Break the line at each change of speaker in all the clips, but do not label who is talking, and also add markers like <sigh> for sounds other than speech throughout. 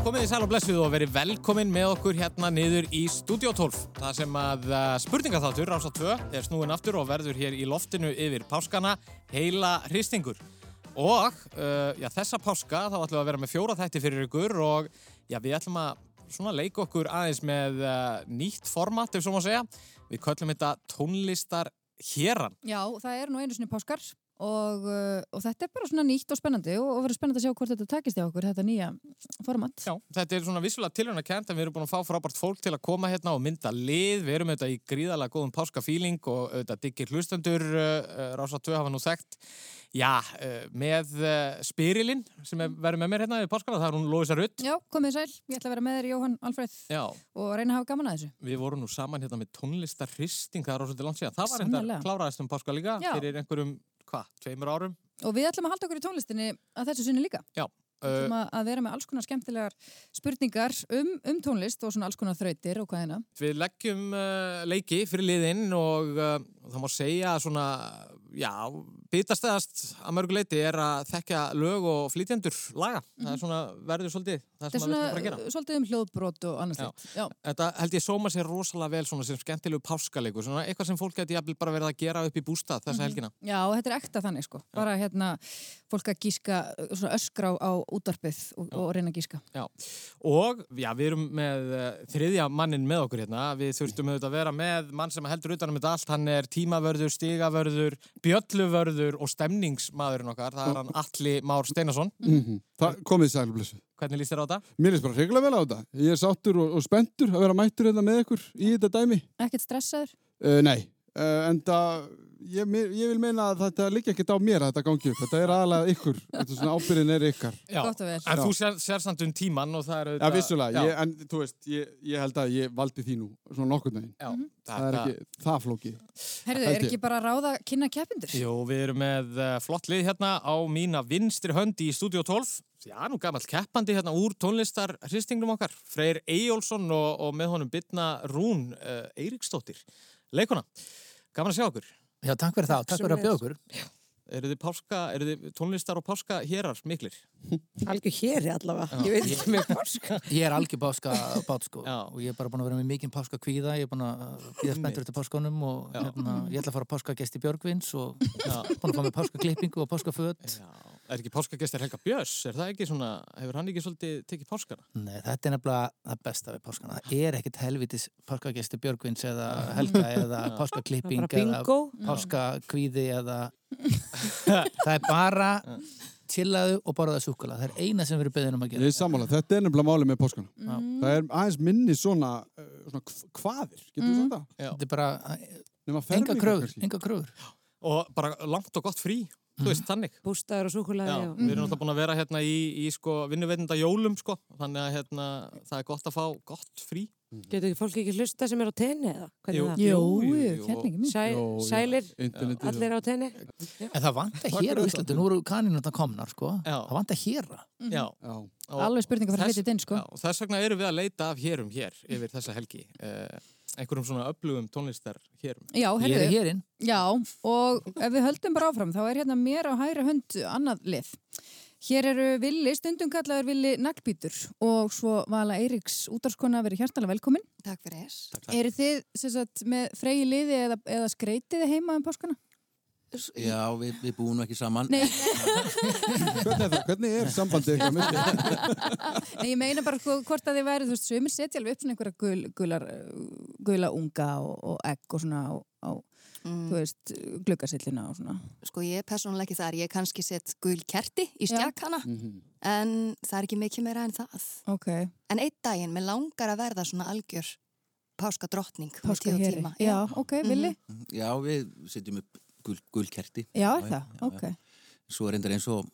Komið í sæl og blessuð og verið velkomin með okkur hérna niður í Studio 12. Það sem að eh, spurningaþáttur, Rása 2, er snúin aftur og verður hér í loftinu yfir páskana heila hristingur. Og uh, já, þessa páska þá ætlum við að vera með fjóra þætti fyrir ykkur og já, við ætlum að svona leika okkur aðeins með uh, nýtt format, ef svo má segja. Við köllum þetta tónlistar héran.
Já, það er nú einu sinni páskar og, uh, og þetta er bara svona nýtt og spennandi og, og verður spennandi að sjá hvort þetta takist hjá okkur, þetta nýja format.
Já, þetta er svona vissulega tilhörna kent en við erum búin að fá frábært fólk til að koma hérna og mynda lið, við erum auðvitað í gríðalega góðum páskafíling og auðvitað diggir hlustendur uh, uh, Rása 2 hafa nú þekkt já, uh, með uh, Spyrilin sem er, verður með mér hérna í páskana, það er hún Lóisa Rutt
Já, komið sæl, ég ætla að vera með þér Jóhann Alfreð
Já,
og reyna að hafa gaman að þessu.
við vorum nú saman hérna með tónlistarristing það er ásvöldi langt síðan, það var hérna
Sannarlega.
kláraðist um páska líka
Já.
fyrir einhverjum, hvað, tveimur árum
Og við ætlum að halda okkur í tónlistinni að þessu sinni líka. Við
uh,
ætlum að- að vera með alls konar skemmtilegar spurningar um, um tónlist og svona alls konar þrautir og hérna. hvaðina.
Við leggjum uh, leiki fyrir liðinn og uh, það má segja að svona, já, bitastæðast að mörgu leiti er að þekka lög og flytjendur laga. Það er svona, verður svolítið, það
Mhm. Þetta
er
er
svona við þurfum að
svona
gera.
uh, svolítið um hljóðbrot og annars
Já.
litt. Já,
Þetta held ég sóma sér rosalega vel svona sem skemmtilegu páskaleikur, svona eitthvað sem fólk geti jafnvel bara verið að gera upp í bústað
Mhm.
þessa helgina.
já, og þetta er ekta þannig sko. Bara hérna fólk að gíska, uh, svona öskra á útarpið og, og reyna að gíska.
Já, og já, við erum með uh, þriðja mannin með okkur hérna, við þurftum auðvitað að vera með mann sem heldur utanum þetta allt, hann er tímavörður, stigavörður, bjölluvörður og stemningsmaðurinn okkar, það er hann Alli Már Steinason.
Mm Það komið sælblessu.
Hvernig líst þér á þetta?
Mér er bara regla vel á þetta. Ég er sáttur og, og spenntur að vera mættur hérna með ykkur í þetta dæmi.
Ekkert stressaður?
Uh, nei, uh, en það, ég, mér- ég vil meina að þetta liggja ekkert á mér að þetta gangi upp. Þetta er aðalega ykkur. Þetta er svona ábyrðin er ykkar.
Já.
Gott og vel.
En
Já.
þú sér, sér samt um tíman og það er
Já,
auðvitað...
vissulega.
Já,
Ég, en þú veist, ég, ég held að ég valdi því nú svona nokkur neginn.
já,
Mhm. Það er
þetta-
ekki, það flókið.
Herðu,
Held
er
ég.
ekki bara að ráða að kynna keppindur?
Jú, við erum með uh, flott lið hérna á mína vinstri hönd í Studio 12. Já, nú gamall keppandi hérna úr tónlistar hristingnum okkar. Freyr Eyjólfsson og, og með honum Bitna Rún uh, Eiríksdóttir. Leikona, gaman að sjá okkur.
Já, takk fyrir það, takk fyrir að bjóða okkur.
Eru þið, páska, eru þið tónlistar og páska hérar miklir?
Algjör hér allavega, ég veit ekki með páska.
Ég er algjör páska bát sko
Já.
og ég er bara búin að vera með mikinn páska kvíða, ég er búin að býða spenntur eftir páskanum og
Já.
hérna, ég ætla að fara páska gest í Björgvins og búin að fá með páska klippingu og páska föt.
Já. Er ekki páskagestir Helga Björns? Er það ekki svona, hefur hann ekki svolítið tekið páskana?
Nei, þetta er nefnilega það besta við páskana. Það er ekkit helvitis páska gest í Björgvins eða helga eða páska klipping
Bara
eða
bingo.
páska kvíði eða það er bara tillaðu og borðaðu súkula. Það er eina sem við erum beðin um að
Ég
gera.
er sammála. Þetta er nefnilega málið með páskana.
Mm.
Já.
Það er aðeins minni svona, uh, svona kv- kvaðir, getur þú
Mm.
sagt það?
Já.
Þetta er bara
Nema
enga
fermingar
kröfur,
kannski.
enga kröfur.
Og bara langt og gott frí, þú
Mhm.
veist, þannig.
Bústaður og súkulega,
Já,
já.
við erum alltaf búin að vera hérna í, í sko, vinnuveitinda jólum sko, þannig að hérna, það er gott að fá gott frí.
Getur ekki fólk ekki hlusta sem er á tenni eða? Hvernig
Jú.
er það?
Jú,
Jú, jú, jú.
hérna ekki minn.
Sæ,
Jó, já.
sælir,
Internetið.
allir á tenni?
En það vanta
Takk
hér á
fyrir
Íslandi, nú eru kaninutna komnar sko,
Já.
það vanta hér
Já,
Já.
og-
Alveg spurning að fara
Þess-
hlutið inn, sko.
já, og þess vegna erum við að leita af hérum hér yfir þessa helgi. Uh, einhverjum svona öflugum tónlistar hérum.
Já,
Ég er
herðu,
hérinn,
já, og ef við höldum bara áfram, þá er hérna mér á hæra hönd annað lið. Hér eru Villi, stundum kallaður Villi Naglbítur og svo Vala Eiríks útarskona verið hjartalega velkomin.
Takk fyrir þess.
Takk.
Eru þið sem sagt, með fregi liði eða, eða skreitið heima um páskana?
Já, við, við búum nú ekki saman.
Nei,
Hvernig er það? Hvernig er sambandið eitthvað myndið?
nei, ég meina bara sko, hvort að þið væri, þú veist, sömur setja alveg upp svona einhverja gul, gular, gula unga og, og egg og svona á, á þú
Mm,
veist, gluggasillina og svona.
sko ég er persónulega ekki þar, ég kannski sett gul kerti í
Já.
stjakkana en það er ekki mikið meira en það.
Ok,
En einn daginn, mér langar að verða svona algjör páskadrottning með
páska
tíu
hér.
tíma.
Já, ok,
Mhm.
villi.
Já, við setjum upp gul, gul kerti.
Já, er
Já,
það,
já, já.
ok.
Svo er reyndar eins og,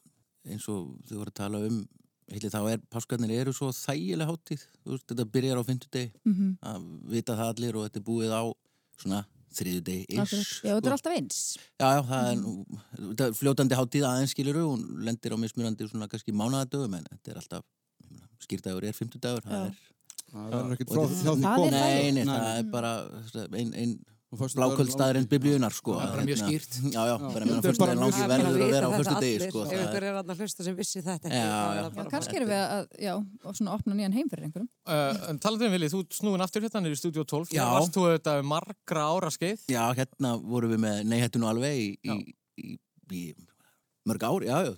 eins og þau voru að tala um, heilir þá er, páskarnir eru svo þægilega hátíð. Þú veist, þetta byrjar á fimmtudegi,
Mm
að vita það allir og þetta er búið á svona þriðjudegi.
Já, þetta er alltaf eins.
Já, já, það er nú, þetta er fljótandi hátíð aðeins skilur og hún lendir á mismunandi svona kannski mánaðadögum en þetta er alltaf, ég meina, skýrdagur er fimmtudagur,
Já.
það er
Það verður ekkert
Og
frá
þetta-
frá því
Það er
komið.
það.
Nei, nei,
Nei.
það er bara einn ein blákvöldstaðurinn biblíunar sko.
Það er bara mjög
hérna.
skýrt.
Já, já, bara
Þetta er
meðan
bara
fyrstudaginn langi
mjög
verður að
vita
vera á
þetta
fyrstudegi
allir.
sko.
Ef
það
einhver
er-
er að hlusta sem vissi þetta
Já,
ekki, þá er
já.
það
Já,
bara-
kannski erum við að, já, og svona opna nýjan heim fyrir einhverjum.
Uh, Talaðu um Vili, þú ert snúinn aftur hérna niður í Studio 12
Já.
Hér varst þú auðvitað um margra ára skeið
Já, hérna vorum við með neyhættu nú alveg í, í, í, í mörg ár, já, já,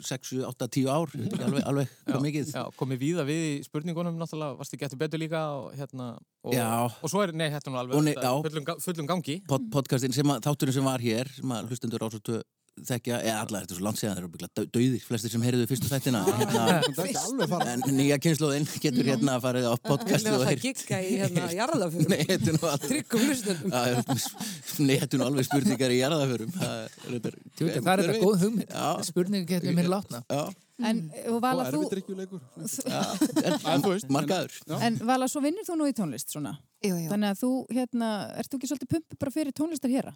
6, 8, 10 ár, ég veit ekki alveg, alveg hvað mikið.
Já, komið víða við í spurningunum náttúrulega, varst þið getur betur líka og hérna og,
Já.
og svo er, nei, hérna er alveg
Og nei,
auðvitað
já.
fullum, ga- fullum gangi
Pod, podcastin sem að, þátturinn sem var hér, sem að hlustendur ásóttu þekkja, eða alla, þetta er svo langt séðan, þeir eru byggla döðir, flestir sem heyriðu fyrstu
<laughs>
þættina, hérna,
Það er ekki alveg fara.
en nýja kynnslóðinn getur hérna að farið á
Við
podcastu
erum
og
alltaf að
heyrt.
gigga í hérna jarðaförum.
Neyhættu nú alveg.
Tryggum hlustendum.
Já, Neyhættu nú alveg spurningar í jarðaförum. Það er reyndar-
Tjóta, það er
hver
þetta
veit?
góð hugmynd.
Já.
Spurningar getur mér látna.
Já,
En, og
Og
Vala,
erfið
þú,
drikkjuleikur.
en, markaður.
en Vala, svo vinnur þú nú í tónlist svona.
Jú, jú.
Þannig að þú, hérna, ert þú ekki svolítið pumpu bara fyrir tónlistar hér?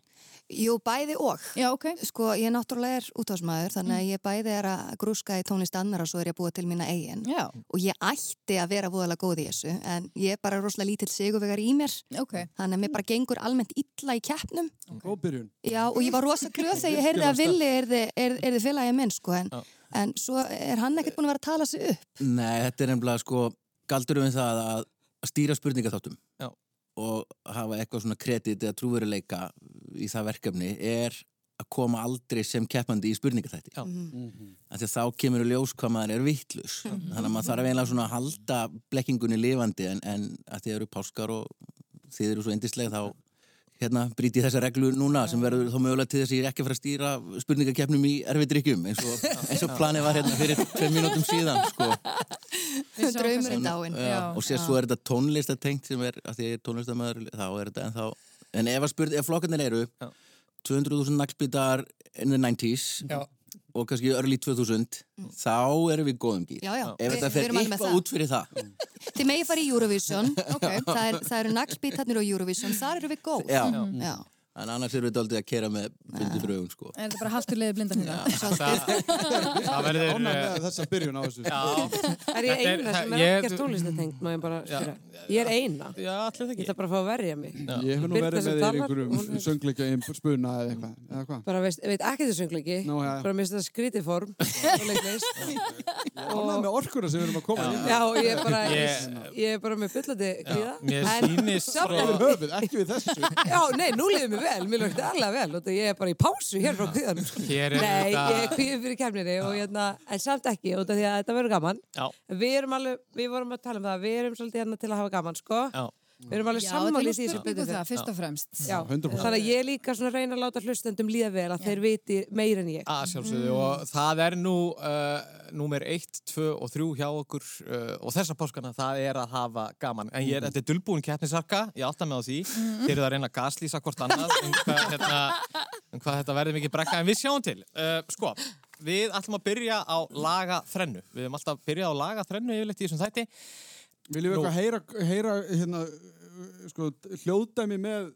jú, bæði og.
Já, ok.
Sko, ég náttúrulega er útvarsmaður, þannig
Mm.
að ég bæði er að grúska í tónlist annar og svo er ég að búa til mína eigin.
Já,
Og ég ætti að vera voðalega góð í þessu, en ég er bara rosalega lítill sigurvegar í mér.
ok.
Þannig að mér bara gengur almennt illa í keppnum.
Góð byrjun.
Já, og ég var rosa glöð þegar ég heyrði að Villi er þið félagið minn, sko, en, en svo er hann ekkert búin að vera að tala sig upp.
Nei, þetta er nefnilega sko galdurum við það að að stýra spurningaþáttum
Já.
og hafa eitthvað svona kredit eða trúveruleika í það verkefni er að koma aldrei sem keppandi í spurningaþætti
Já.
Mhm.
af því að þá kemur í ljós hvað maður er vittlus þannig að maður þarf eiginlega svona að halda blekkingunni lifandi en, en að þið eru páskar og þið eru svo endislega þá hérna brýti þessa reglu núna sem verður þá mögulega til þess að ég er ekki að fara að stýra spurningakeppnum í erfidrykkjum eins og, eins og planið var hérna fyrir tveim mínútum síðan sko.
Við sjáum
Draumurinn
hversu-
dáinn.
Já,
Já,
og sér svo er þetta tónlistatengt sem er, að því að ég er tónlistamöður þá er þetta ennþá, en ef, að spurt, ef flokkarnir eru
Já.
200.000 naglbítar in the 90s
Já.
og kannski early 2000 þá erum við í góðum gýr
Mm. Já, já,
ef
við-
þetta
við
fer
erum alveg með
eitthvað
það.
út fyrir það
Þið megið fara í
<laughs>
Eurovision, það, er, það eru naglbítarnir á Eurovision, þar eru við góð.
já,
Já.
en annars erum við daldið að kera með bundi frögun sko
Er þetta bara haltur leiði blindan hérna?
Það, það verður
Ánæg
eh,
með þessa byrjun á þessu.
Já,
Er ég
Þetta er-
eina sem
það-
er
ég-
ekkert tónlistatengt, má ég bara spyrja. Ég er eina.
já allir það
Ég
ekki
ætla bara að fá að verja mig.
Ég hef nú
Birna
verið
sem
með þér í
talar, hún
einhverjum
er-
söngleika í spuna eða eitthvað. Eða hvað?
Bara veist, veit ekki þessu söngleiki.
Nú, já, já.
Bara minnst það skrítið form. og leiklist.
Ánæg með orkuna sem við erum að koma í.
Já, ég er bara,
Ég-
ég er bara með bullandi gríða.
Mér
En-
sýnist
Sjá,
svo
Við höfum, ekki við þessu.
Já, nei, nú liðum við vel, mér lókti alveg vel og ég er bara í pásu hér frá kvíðanum sko.
Hér er
Nei,
þetta-
ég er kvíðin fyrir kemninni og hérna, en samt ekki, út af því að þetta verður gaman
Já,
Við erum alveg, við vorum að tala um það, við erum svolítið hérna til að hafa gaman, sko
já,
Við erum alveg
Já, þetta er nú
sammálið því sem
spurning um
betur
það,
fyrir
fyrst og fremst.
Já,
100%.
þannig að ég er líka svona að reyna að láta hlustendum líða vel að þeir viti meir en ég
að sjálfsögðu og það er nú uh, númer 1, 2 og 3 hjá okkur uh, og þessa páskana það er að hafa gaman en ég er, þetta er dulbúin keppnisarka, ég átta með á því þeir eru að reyna að gaslýsa hvort annað um hvað, hérna, um hvað þetta verði mikið brekka en við sjáum til, uh, sko við ætlum að byrja á laga þrennu við höfum alltaf byrjað á laga þrennu yfirleitt í þessum þætti
Viljum við
Nú.
eitthvað heyra, heyra hérna, sko, hljóðdæmi með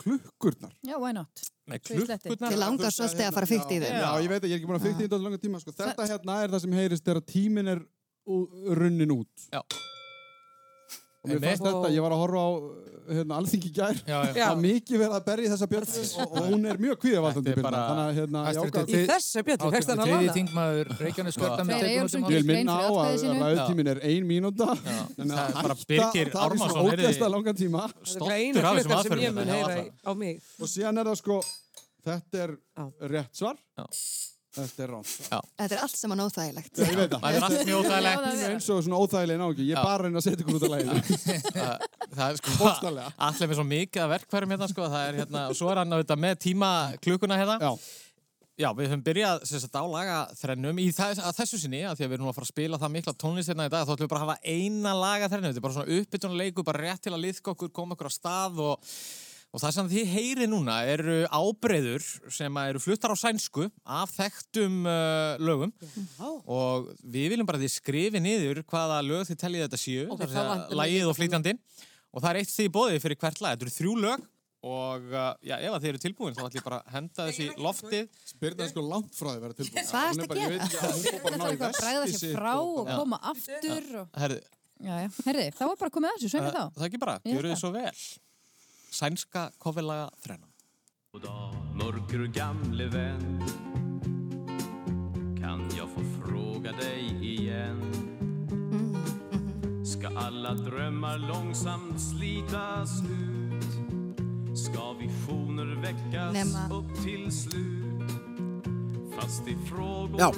klukkurnar?
Já, why not?
með
Svo í sletti.
klukkurnar
Þið langar
Þú veist
svo stið að fara
hérna,
fyrst í þeim.
Já, ég veit að ég er ekki búin að fyrst í þetta langa tíma. Sko. Þetta hérna er það sem heyrist þegar tíminn er ú- runnin út.
Já.
Og mér fannst
Einmitt.
þetta, ég var að horfa á hérna, alþingi í gær.
Já, já.
Já.
Það er mikið verið að berja í þessa björnu og, og hún er mjög
Þetta
kvíðavaldandi
er
björna.
bara-
Þannig að hérna, ég ákvað
Hæstvirtur
Í þessu bjöldu, fækst hann að
Þriði
lána
þingmaður Reykjanes
Freyr Eyjólfsson
Ég vil
gerir- grein
Kjördæmi
minna á
fyrir atkvæði
að
sínu.
ræðutíminn er ein mínúnda <laughs> þannig
Það
að
er bara
hætta-
Birgir
það er í
Ármannsson, Sko-
svona
heyrði-
ógeðslega langan tíma
Það er eina
stoltur af þessum
klukkan sem
aðferðum
ég mun
hérna,
heyra
já,
í- á mig
og síðan er það sko þetta er
Já.
rétt svar
Já.
þetta er rátt svar
Þetta er allt saman óþægilegt.
ég veit það
það er allt mjög óþægilegt
Já, það er-
eins og svona óþægilega náki ég er
Já.
bara að reyna að setja ykkur út af læginu
það, það er sko
Bókstaflega.
allir með svo mikið að verkfærum hérna sko, það er hérna, og svo er hann auðvitað með tíma klukkuna hérna
já
Já, við höfum byrjað sem sagt, á lagaþrennum í þess, að þessu sinni, að því að við erum nú að fara að spila það mikla tónlist hérna í dag, þá ætlum við bara að hafa eina lagaþrennu, þetta er bara svona uppbytunleiku, bara rétt til að liðka okkur, koma okkur á stað og, og það sem þið heyri núna eru ábreyður sem að eru fluttar á sænsku af þekktum uh, lögum og við viljum bara að þið skrifi niður hvaða lög þið teljið þetta séu,
Ok,
okay,
þá vantar mig
lagið
líka
og flytjandinn og það er eitt því bóðið fyrir hvert lag, þetta eru þrjú lög og uh, já, ef að þið eru tilbúin þá ætlum ég bara að henda þessi loftið
Spyrna er sko langt frá því að vera tilbúin
Hvað
Hún er
ertu að
bara- ég
gera?
veit ekki að hún fór bara að ná í
Það er að bræða
veskið
sér
sitt
frá
og-
og koma aftur og...
Herðu,
Já, já, herði, þá var bara komið að þessu, sveinu
það
þá.
það ekki bara,
Ég held
gjöru þið
það.
svo vel sænska koffilaga þrennan.
God dag, mörker gamle vän Kan jag få fråga dig igen? Ska alla drömmar långsamt slitas ut? Ska visioner väckas
Nema.
upp till slut? Fast i frågor
Já.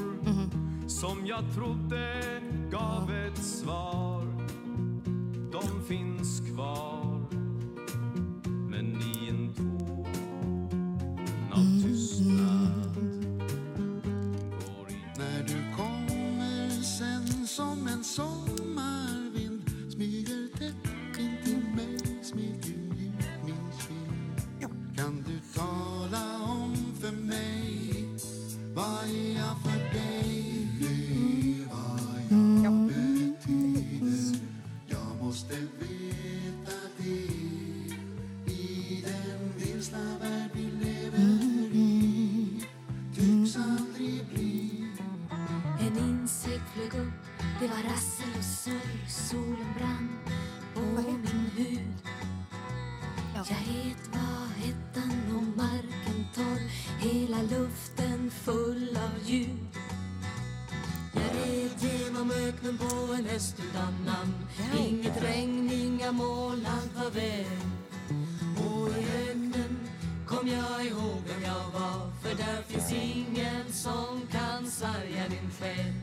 som jag trodde gav ett svar De finns kvar Men i en ton av tystnad går i
När du kommer sen som en sommarvind smyger tätt in till mig, smyger ut min kind. Kan du tala om för mig vad är jag för dig? Det vad jag betyder. Jag måste veta det i den vilsna värld vi lever i. Tycks aldrig bli
En insekt flög upp, det var rassel och sorg Solen brann på min hud Jag het var hettan och marken torr Hela luften full av ljud Jag red genom öknen på en häst utan namn Inget regn, inga moln, allt var väl Och i öknen kom jag ihåg vem jag var För där finns ingen som kan sarga din själ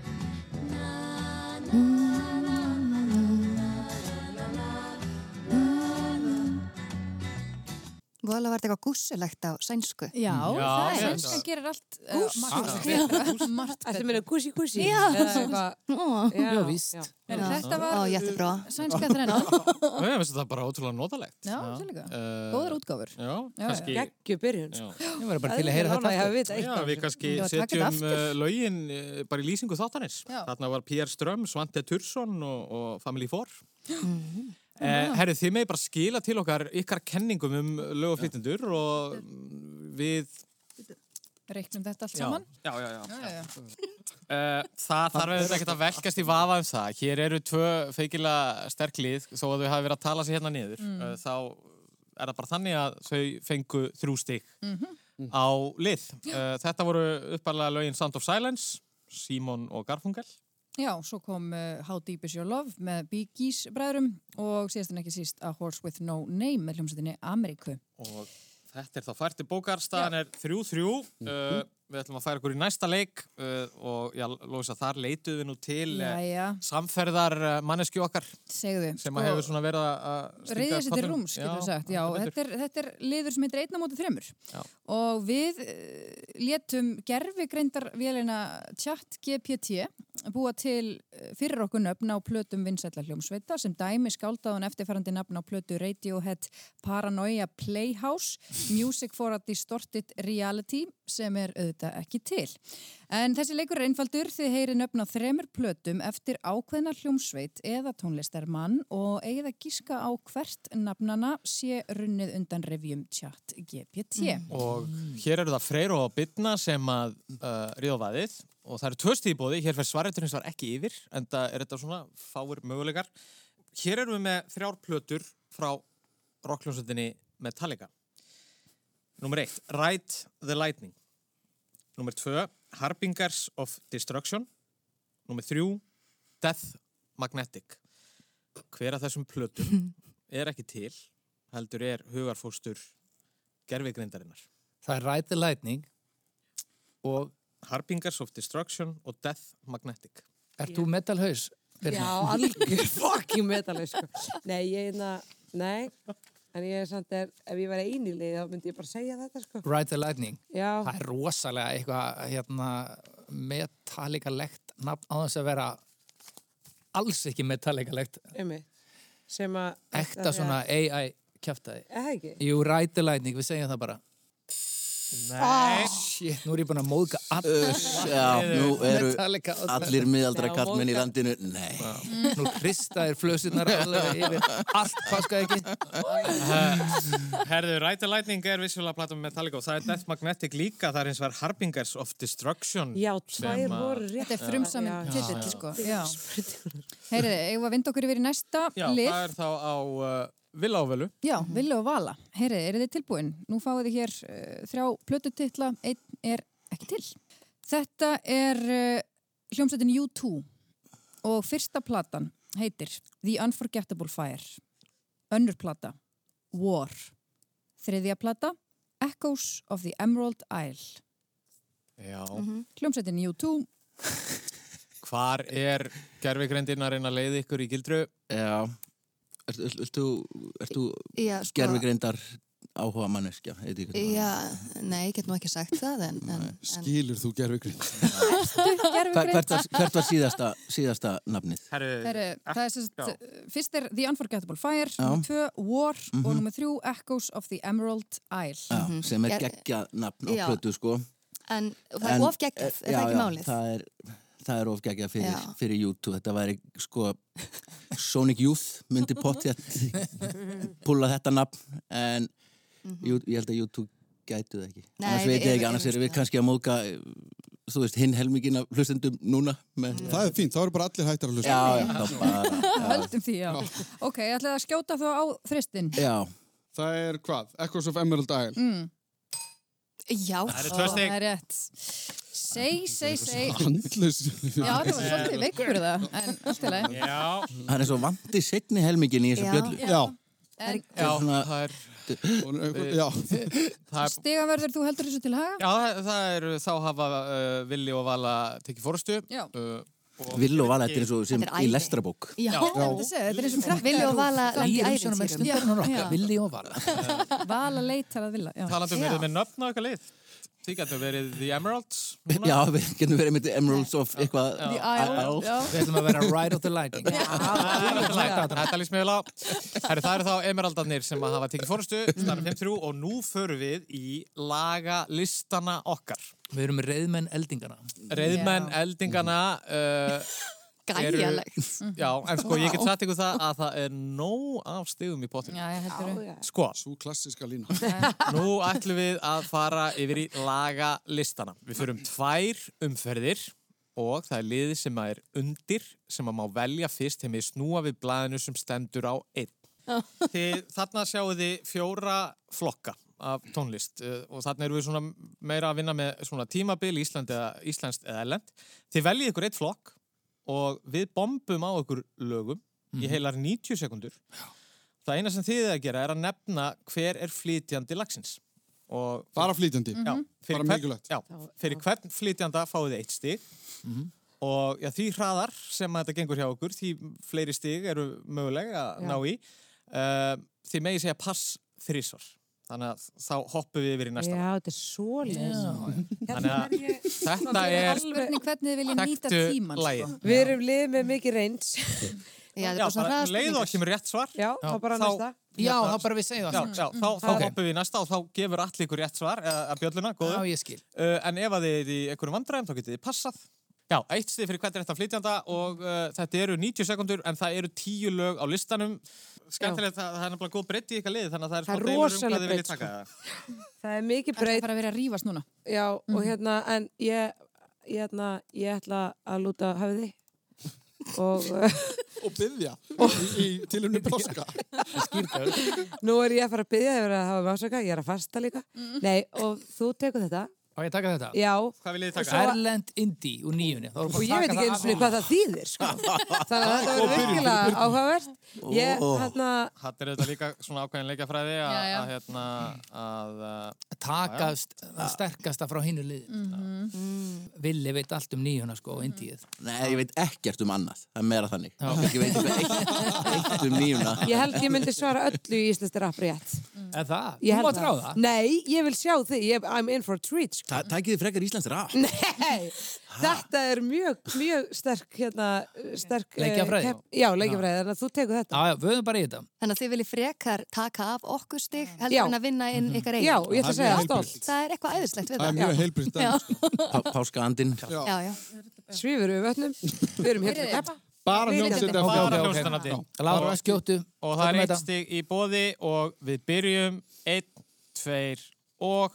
Voðalega var þetta eitthvað gússulegt á sænsku.
Já,
Já,
það er
ég held
Sænskan
að-
gerir allt eh,
Gúss.
margt
Ah,
betra. <laughs> Margt
Þetta
betra.
meina kusi kusi
Já. Ó,
Já,
Já, víst.
En
Já.
Þetta
ó,
var
ég ætti brá.
sænska þrennan.
Já, ég finnst þetta bara ótrúlega notalegt.
Já, sannlega.
Eh,
Góðar útgáfur.
Já,
Já,
kannski.
Gekkju byrjun sko.
Já.
Ég var bara til að heyra
Það
þetta
er
aftur.
alveg að
Já,
vita
við kannski
Ég var að taka
setjum
þetta aftur.
uh, lögin uh, bara í lýsingu þáttanins.
Já.
Þarna var P.R. Ström, Svante Tursson og, og Family Four. Eh, herru, þið meði bara skila til okkar ykkar kenningum um lög og flytjendur og mm, við...
Reiknum þetta allt saman.
Já, já, já.
Já, já.
Eh, það þarf auðvitað ekkert að velkast í vafa um það. Hér eru tvö feikilega sterk lið, þó að þau hafi verið að tala sér hérna niður. Mm. þá er það bara þannig að þau fengu þrjú stig á lið. Uh, þetta voru uppalega lögin Sound of Silence, Simon og Garfunkel.
Já, svo kom uh, How Deep Is Your Love með Bee Gees bræðurum og síðast en ekki síst A Horse With No Name með hljómsveitinni Ameríku.
Og þetta er þá fært til bókar, staðan er 3-3. Uh, við ætlum að færa okkur í næsta leik uh, og já, Lóisa, þar leituðu við nú til uh,
Jæja,
samferðar manneski okkar
segðu.
sem að hefur svona verið að- að stinga
Reyðið Sko, sér til
kollinum.
rúms, getur við sagt.
heldur
Já,
betur.
þetta er, þetta er liður sem heitir einna móti þremur.
Já.
Og við uh, létum gerfigreindar vélina chat GPT búa til eh, fyrir okkur nöfn á plötum vinsætla hljómsveita sem dæmi skáldaðan eftirfarandi nöfn á plötu Radiohead Paranoia Playhouse Music for a Distorted Reality sem er auðvitað ekki til. En þessi leikur er einfaldur þið heyri nöfn á þremur plötum eftir ákveðna hljómsveit eða tónlistarmann og eigið að gíska á hvert nafnana sé runnið undan revjum chat GPT.
Mm.
Og hér eru það Freyr og Bitna sem að uh, ríða á vaðið og það eru tvöst í bóði, hér fer svareturinn svar ekki yfir en það er þetta svona fáir möguleikar. Hér erum við með þrjár plötur frá rockljónsutinni Metallica. Númer eitt, Ride the Lightning. Númer tvö, Harbingers of Destruction. Númer þrjú, Death Magnetic. Hver af þessum plötum er ekki til, heldur er hugarfóstur gerfigrindarinnar.
Það er Ride the Lightning og
Harbingers of Destruction og Death Magnetic.
ert þú metalhaus? Birna?
Já, algjör fucking metaleg sko. Nei, ég einna, nei En ég er samt er, ef ég væri einilið þá myndi ég bara segja þetta sko
Ride the Lightning.
Já,
Það er rosalega eitthvað hérna, metallikalegt nafn á þess að vera alls ekki metallikalegt.
um Sem að
Ekta svona AI kjaftaði.
Það ekki
Jú, Ride the Lightning, við segjum það bara.
Nei,
Shit, nú er ég búin að móðga all
<laughs>
Uss, já, nú eru
Metallica og-
allir miðaldra kallmenn í landinu Nei,
Mm.
Nú kristaðir flössunar alveg yfir allt paskaði ekki.
herðu, Ride the Lightning er vissulega platum með Metallica og það er Death Magnetic líka, það er eins og er Harbingers of Destruction.
Já,
Sem
tvær
að-
voru rétt
Þetta er sko. frumsamin
Já,
titill, sko. Já. Heyriði, eigum við að vinda okkur yfir í næsta
Já,
lið.
það er þá á uh, Villa og Völu.
Já,
Mhm.
Vili og Vala, heyrið, eru þið tilbúin? Nú fáið þið hér uh, þrjá plötutitla, einn er ekki til. Þetta er uh, hljómsveitin U2 og fyrsta platan heitir The Unforgettable Fire, önnur plata, War, þriðja plata, Echoes of the Emerald Isle.
Já.
Mhm. Hljómsveitin U2,
<laughs>
Hvar er gerfigreindin að reyna að leiða ykkur í gildru?
Já. Ertu, ertu, ertu
Já, sko.
gerfugreindar áhuga manneskja?
Já, nei, ég get nú ekki sagt það en, en, en
Skilur þú gerfugreind?
gerfugreind.
Hvert var, hvert var síðasta, síðasta nafnið?
Heru, það er sérst, uh, fyrst er The Unforgettable Fire,
Já.
nummer tvö War og
Mhm.
nummer þrjú Echoes of the Emerald Isle.
Já, sem er
Mhm. Ger-
geggja nafn á
Já.
plötu sko.
En það er
En- eh,
of geggjað, er
já,
það ekki
já,
málið?
það er, það er ofgeggjað fyrir,
Já.
fyrir YouTube. Þetta væri sko Sonic Youth myndi pottið púla þetta nafn en jú, ég held að YouTube gætu það ekki.
Mhm. Nei,
annars
við-
veit ég
við-
ekki, annars
við-
erum við kannski að móka þú veist, hinn helmingin af hlustendum núna. Með,
Mm.
Það er fínt, þá eru bara allir hættar að hlusta.
Já, já, þá bara, já.
Höldum því, já. Ok, ég ætlaði að skjóta þá á þristin.
já.
Það er hvað? Echoes of Emerald Isle.
Mm.
Já,
Það eru tvö stig.
Það er rétt. Seg, seg, <laughs> seg.
Handlaus.
Já, það var svolítið veikur fyrir það, en allt í lagi.
Já.
Það er svo vandi segni helmingin í þessu
Já.
blölu.
Já.
En
<laughs> Já,
Svona,
það er...
Já.
Það er
stigaverður, þú heldur þessu til haga?
já, það- það er, þá hafa uh, Villi og Vala tekið fórustu.
Já.
Uh, og-
Vill og vala, þetta er eins og sem
Þetta er
í
æði.
lestrabók.
já,
Það er þetta að segja, þetta er eins og krakkar.
Villi og Vala
Í
lendi
umsjónum
æðinsýrum
er stundarinn og
Já.
okkar, villi og vala.
Vala leitar að vilja. Já.
Talandi um
Já.
verið með nöfn á eitthvað lið. Þið getur verið The Emeralds. núna.
Já, við getum verið með Emeralds of eitthvað.
The Isle. Já.
Við ætlum að vera ride of the lightning.
Þetta líst mér vel á. Herri, það eru þá emeraldarnir sem að hafa tekið fórustu, starf 5-3 og nú förum við í lagalistana okkar.
Við erum reyðmenn eldingana.
Reyðmenn, eldingana, uh,
Gæjalegt
já, en sko ég get sagt ykkur það að það er nóg af stigum í potinu.
Já, ég heldur um. þau.
já.
Sko,
Svo klassiska lína.
nú ætlum við að fara yfir í lagalistana. Við förum tvær umferðir og það er liðið sem að er undir sem að má velja fyrst þegar við snúa við blaðinu sem stendur á einn. <laughs> Þið, þarna sjáu þið fjóra flokka af tónlist eh, og þarna eru við svona meira að vinna með svona tímabil Ísland eða, Íslands eða Erlend. Þið veljið ykkur eitt flokk og við bombum á ykkur lögum í heilar 90 sekundur. Það eina sem þið er að gera er að nefna hver er flytjandi lagsins. Og
Bara flýtjandi.
já,
Bara
hvern-
mikilvægt.
Já, fyrir hvern flytjanda fáið þið eitt stig
Mhm.
og já, því hraðar sem að þetta gengur hjá okkur, því fleiri stig eru mögulega að
Já.
ná í uh, því megi segja pass þrísvar þannig að þá hoppum við yfir í næsta
Já, þetta er Hérna svo
Þannig að þetta er
Spurning hvernig þið vilja nýta
þekktu
tíman.
lægið
Sko.
Við erum lið með mikið reyns.
Já, það er
Já,
bara svona
bara
hraðast
leið og kemur rétt svar
Já, þá bara
Þá-
næsta.
Já, þá bara við segjum
Já,
það.
já, þá, þá
Ok.
hoppum við í næsta og þá gefur allir ykkur rétt svar eða að bjölluna, góðu.
Já, ég skil.
Uh, en ef að þið er í einhverjum vandræðum þá getið þið passað. Já, eitt stið fyrir hvert er þetta flytjanda og uh, þetta eru 90 sekundur en það eru 10 lög á listanum. Skemmtilegt, það, það er nefnilega góð breytt í ykkar lið þannig að það er
Það er
smá deilur um
rosaleg
hvað þið viljið
breidd,
sko.
taka.
Það er mikið
Það er
breytt.
bara að vera að rífast núna.
Já, og
Mhm.
hérna, en ég, ég, hérna, ég ætla að lúta höfði. Og uh,
Og
<laughs>
byggja. Í tilumni páska.
nú er ég að fara að byggja yfir að hafa másaka, ég er að fasta líka. Nei, og þú tekur þetta.
Mhm. Á ég að taka þetta?
Já,
Hvað viljið þið taka?
Erlend Indi úr nýjunni. Þá erum
og
við
ég
bara að
veit
taka
ekki eins
það
og
af-
hvað það þýðir, sko. Þannig að þetta verður virkilega áhugavert. Ég, hérna,
Þetta er þetta líka svona ákveðin leikjafræði að,
Já, já.
að hérna að uh,
taka st- það sterkasta frá hinu lið.
Mm.
Villi veit allt um nýjuna sko og Indíið.
Nei, ég veit ekkert um annað. Það er meira þannig. Ég veit ekki eitt, eitt um nýjuna.
ég held ég myndi svara öllu í Íslands rap rétt.
Mm.
En það,
Ég
þú
held
mátt ráða.
Nei, ég vil sjá þig. Ég, I'm in for a treat, sko.
Ta Tækið þið frekar Íslands raf.
Nei, þetta er mjög, mjög sterk, hérna, sterk... eh,
Leikjafræði.
kepp- Já, leikjafræði, þannig að þú tekur
Já,
þetta.
já, við höfum bara í þetta.
Þannig að þið viljið frekar taka af okkur stig heldur
Já.
en að vinna inn ykkar eigin
Já, og ég ætla að
Það er
segja
mjög
stolt.
Það er eitthvað æðislegt við
Það er
það
mjög sko. heilbritt.
Já.
Pá Páskaandinn.
Já, já
Svífur við vötnum, við erum hér til að keppa.
Bara
Við
hljómsveit
vitum
eftir.
bara
ok, ok.
hljóstanandi.
Lára, skjótu.
Og það er
tökum
eitt
þetta.
stig í bóði og við byrjum einn, tveir og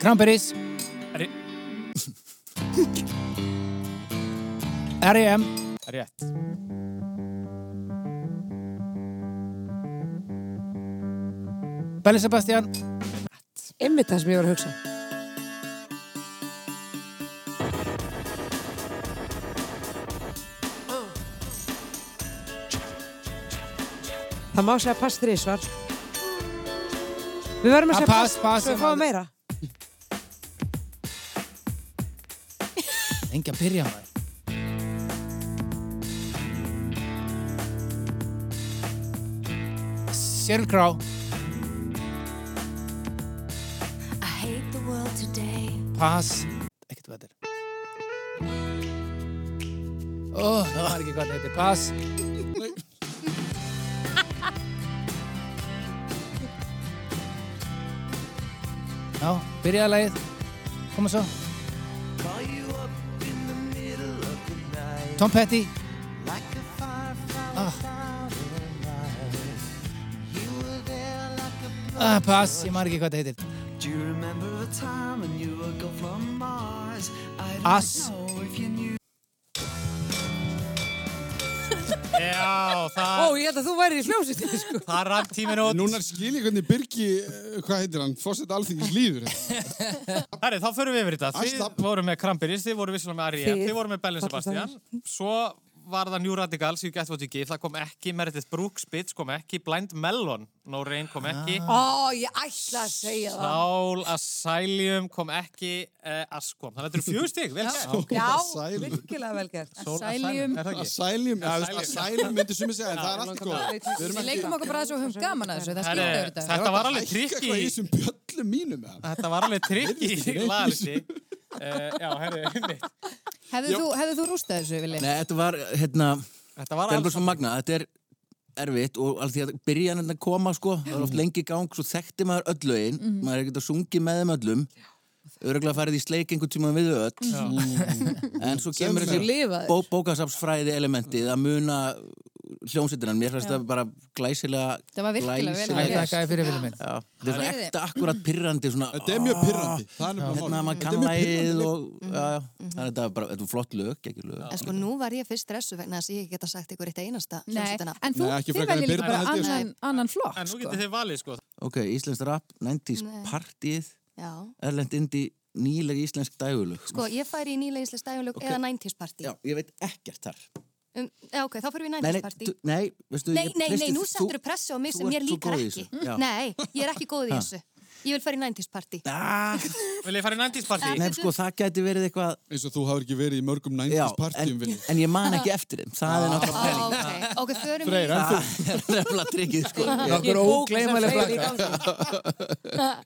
Kramperis. <laughs>
Re-
R.E.M.
Rétt.
Belli Sebastian
Einmitt það sem ég var að hugsa Það má segja pass þrísvar Við verðum að
Að
segja
pass,
pass,
pass,
svo við
en
fáum
að-
meira
Engi að byrja maður Sheryl Crow
I hate the world today.
Pass Ekkert hvað þetta er Ó, það var ekki hvað þetta heitir Pass Já, byrjaði lagið Koma svo Tom Petty ah. ah, Pass, ég maður ekki hvað þetta heitir
Do you remember the time when you were gone from Mars? I don't
Us.
know if you knew.
Já, það...
Ó, ég held að þú væri í hljósið sko.
Það rann tímin út.
Núna skil ég hvernig Birgi, eh, hvað heitir hann, fórsett alþingis líður. hérna.
Herri, þá förum við yfir þetta. Þið voru með Krampiris, þið voru vissulega með Ariel,
Þið.
þið voru með Bellin
Allir
Sebastian. Svo var það New Radicals, You Get What You Give, það kom ekki Meredith Brooks, Bitch kom ekki, Blind Melon, No Rain kom ekki.
Ah.
Ó, ég ætla að segja það
Sál Asylum kom ekki, uh, Ass kom. Þannig að þetta eru fjögur stig, vel gert.
Já, virkilega vel gert
Sól Asylum, er það ekki?
Asylum, já,
Asylum.
asylum myndi sumi segja, en það er allt góð. Við erum
Við
ekki-
leikum okkur bara þessu og höfum gaman að þessu, það skiptir
Herri,
yfir þetta.
þetta var alveg
Hækka hvað í
trikki,
þessum bjöllum mínum með hann.
þetta var alveg trikki
Virðist ekki neitt í
lagalisti. Uh, já, herri, einmitt.
Hefðu þú, hefðu þú rústað þessu, Vili?
Nei, þetta var, hérna,
þetta var
alveg svo magna, þetta er erfitt og alveg því að byrja hann að koma, sko, það
Mm.
var oft lengi í gang, svo þekkti maður öll lögin,
Mhm.
maður er ekkert að sungi með þeim öllum, öruglega farið í sleik einhvern tíma við þau öll, Mm. en svo
Sem
kemur
þú
þessi
lifaðir.
bó bókasafsfræði elementið að muna hljómsveitinan, mér finnst
Já.
það bara glæsilega,
Það var virkilega vel
glæsilega-
gert. Æ, þakka þér fyrir, vinur minn.
Já, þetta er svona
Heyrðu.
ekta akkurat pirrandi svona,
Þetta er mjög pirrandi, það er nefnilega málið.
Hérna að maður
Þetta er
kann
mjög
lagið
pirrandi.
og,
Mhm.
já, já, þannig að þetta er bara, þetta er flott lög, ekki lög.
En sko nú var ég fyrst stressu vegna þess að ég geta sagt ykkur eitt einasta
Nei,
hljómsveitina.
en þú, þið veljið líka bara annan, annan flokk,
En nú
sko.
getið þið valið, sko.
Ok, Íslensk rap, 90s
Nei.
partíð,
Já.
erlend indi, nýleg íslensk dægulög.
Sko, ég færi í nýlegislega stæðunlög
Ok.
eða 90s party.
Já, ég veit ekkert þar.
Um, já, ok, þá fyrir við í
Nei,
90s
nei,
party.
þú- nei, veistu,
Nei,
ég
nei,
treysti-
nei, nú
þú-
sendur þú pressu á mig
þú
sem mér
ert svo
líkar
góð í
ekki.
þessu, já.
Nei, ég er ekki góð í
Ha.
þessu. Ég vil fara í 90s
<laughs>
party. <laughs>
Vil ég fara í 90s party?
Ah, Nei, sko, það gæti verið eitthvað...
Eins og þú hafur ekki verið í mörgum 90s partíum, <laughs> Vili.
En ég man ekki eftir þeim, það er náttúrulega
Ó,
penning.
Ah, ok, ok, förum við-
Freyr, en þú?
<laughs> Það er nefnilega tryggið,
<laughs>
sko.
Nokkur ógleymanleg blakka.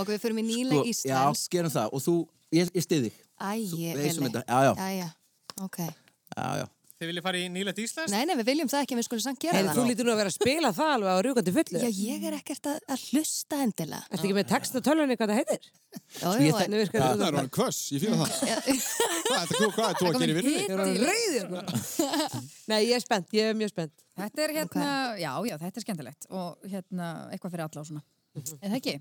Ok, við förum í
Sko,
nýleg
Já,
íslensk.
gerum það. Og þú, ég, ég stiði.
Æ, ég
um
leysum
Elli.
þetta, já, já.
já, ok.
Já, já.
Þið viljið fara í nýlegt Íslands?
Nei, nei, við viljum það ekki, við skulum samt gera
Heyrðu, þú
það.
lítur nú að vera að spila það alveg á rjúkandi fullu
Já, ég er ekkert að, að hlusta endilega.
Ertu ekki með textatölunni hvað það heitir? Ég
Já, já,
þekki-
en-
virkar
Það er hann kvöss, ég fýla það. Hvað er þetta- hvað er þú að gera í vinnu?
Ég er orðin reið hérna. Nei, ég er spennt, ég er mjög spennt
Þetta er hérna, já, já, þetta er skemmtilegt og hérna, eitthvað fyrir alla og svona. Er það ekki?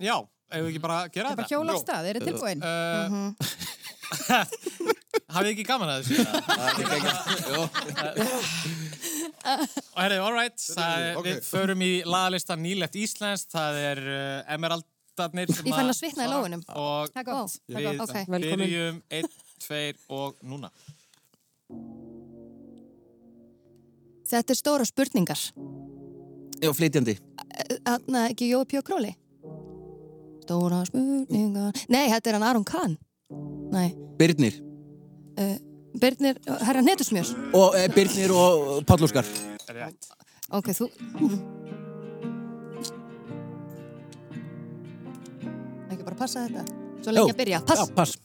Já, ef við ekki bara gera
Það er
þetta.
bara hjóla á
Jú.
stað, eru tilbúin?
Uh,
Mhm.
<laughs> Hafið þið ekki gaman að þessu? Og herri, all right, það, er- við förum í lagalista nýlegt Íslands, það er uh, emeraldarnir sem
Ég fann að svitna í lófunum.
Og
Það er gott, það er
við
gott. Ok. Velkomin.
byrjum einn, tveir og núna.
Þetta er stóra spurningar.
Já, flytjandi.
Þannig að ekki Jói Pjó Króli. Stóra spurningar. Nei, þetta er hann Aron Kahn. Nei.
Birnir.
Uh, Birnir, herra Netusmjör.
Og e, Birnir og Páll Óskar.
Rétt.
Ok, þú... Ekki bara passa þetta. Svo lengi
Jú.
að byrja. Pass.
Já, pass.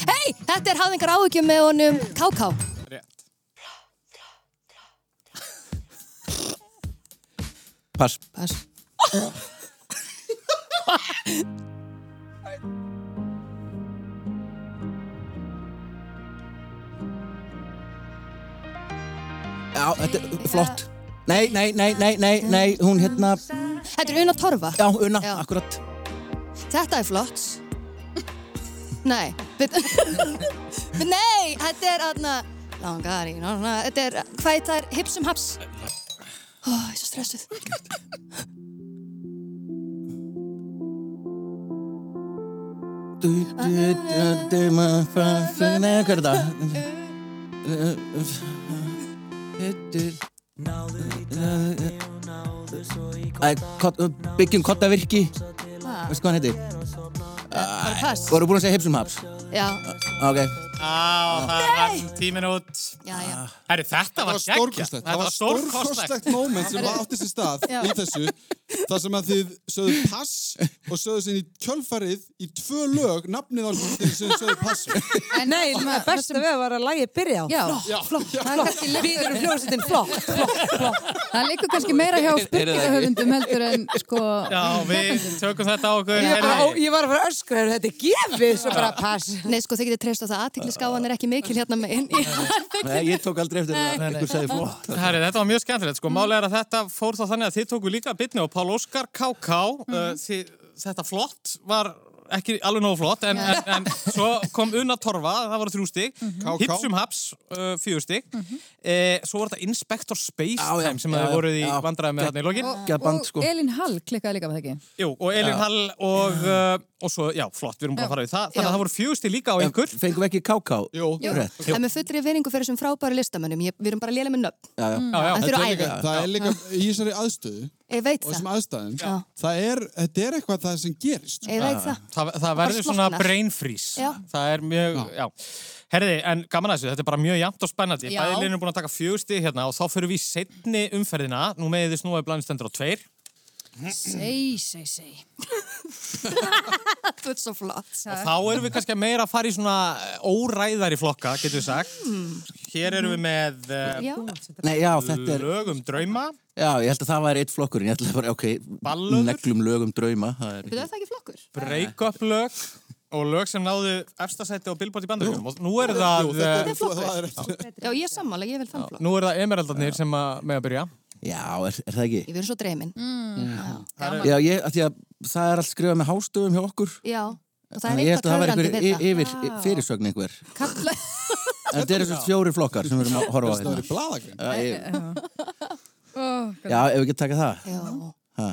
Hei, þetta er hafðingar áhugjum með honum Káká.
Rétt.
Pass.
Pass.
Já, þetta er flott. Nei, nei, nei, nei, nei, nei, hún hérna...
Þetta er Una Torfa.
Já, Una, akkurat.
Þetta er flott. Nei, bet, bet <laughs> nei, þetta er aðna langar í norna, þetta er hvað þetta er hipsum um haps Ó, ég er svo stressuð
Du, du, du, du, ma, fa, fa, ne, hvað er þetta? Æ, kott- Byggjum kottavirki Veistu hvað hann heitir?
Ah. bara pass.
Voru búin að segja hipsum haps?
Já,
Ok
Á, það var tímin út.
já, já
Herri, þetta var geggja.
stórkostlegt. Það var stórkostlegt moment sem átti sér stað
Já.
í þessu. þar sem að þið sögðu pass og sögðu sinni kjölfarið í tvö lög nafnið á þeir sem sögðu pass.
Nei,
svona-
besta við var að lægi byrja á.
Já.
flott,
Það er
flott.
kannski
Við erum hljóðsettin flott, flott, flott.
Það leikur kannski meira
Er-
hjá
er það ekki?
spurningahöfundum heldur en sko...
<laughs> Já, við tökum þetta á okkur.
Ég,
heyrðu.
á, ég var að fara að öskra, er þetta gefið? Svo bara pass.
Nei, sko, þið getið treyst á það aðtiklisgáðan er ekki mikil hérna megin
Nei, ég tók aldrei eftir það Einhver sagði flott
Herri, þetta var mjög skemmtilegt sko. Málega er að þetta fór þá þannig að þið tóku líka bitni og Pál Óskar KK uh, þið, þetta flott var ekki alveg nógu flott en, en, en svo kom Una Torfa, það voru þrjú stig
KK.
Hipsum Haps, uh, fjögur stig mm svo voru þetta Inspector Space
Já, já,
Time sem
já,
þið
já,
voruð í
já.
vandræðum með þarna í lokin
Og,
sko.
og Elin Hall klikkaði líka með það ekki.
Jú, og Elin
Já.
Hall og, uh, og svo, já, flott, við erum búin að fara við það þannig að
Já.
það voru fjögur stig líka á einhver
Fengum við ekki káká?
Jú
Jú,
Rétt
það er með fullri veringu fyrir þessum frábæru listamönnum ég, Við erum bara að lélega með nöfn Mm.
Já, já
Já, já.
En þau
Þetta er
eru
líka-
æði
Það er líka í þessari aðstöðu
Ég veit
og
það,
þessum aðstæðum.
Já.
Það er, þetta er eitthvað það sem gerist. sko.
ég veit það
Það, það verður svona
slokknar.
brain freeze.
Já.
Það er mjög, já. Herði, en gaman að þessu, þetta er bara mjög jæmt og spennandi.
Já.
Bæðilinn er búin að taka fjögusti hérna og þá fyrir við í setni umferðina. Nú meðið þið snúið blandistendur á tveir.
Sei, sei, sei.
Þú ert svo flott
Og þá erum við kannski meira að fara í svona eh, óræðari flokka, getur við sagt. Hér erum við með
Já,
Nei, já, þetta
uh,
er
lögum drauma.
Já, ég held að það væri eitt flokkurinn Ég held að bara, ok
Ballöður?
Neglum lögum drauma Það er
betur það ekki flokkur?
break-up lög og lög sem náðu efstasætti og billbót í bandaríkjum og nú er
Jú,
það,
þetta er
eh,
flott. Það er eftir.
Já, ég er sammála, ég vil þann flokk
nú er það emeraldarnir sem að með að byrja
Já, er, er það ekki?
Ég verður svo dreymin
Já, ég, af því að það er allt skrifað með hástöfum hjá okkur
Já, og það er
Þannig ég held
eitthvað
að það var
töfrandi
einhver
við það
y- yfir fyrirsögn einhver
Kalla-
En þetta eru þessi fjóri flokkar sem við erum að horfa á
Það er
hérna
í bladagrein.
Já, ég-
Oh,
Já, ef við getum takað það
Já,
Ha.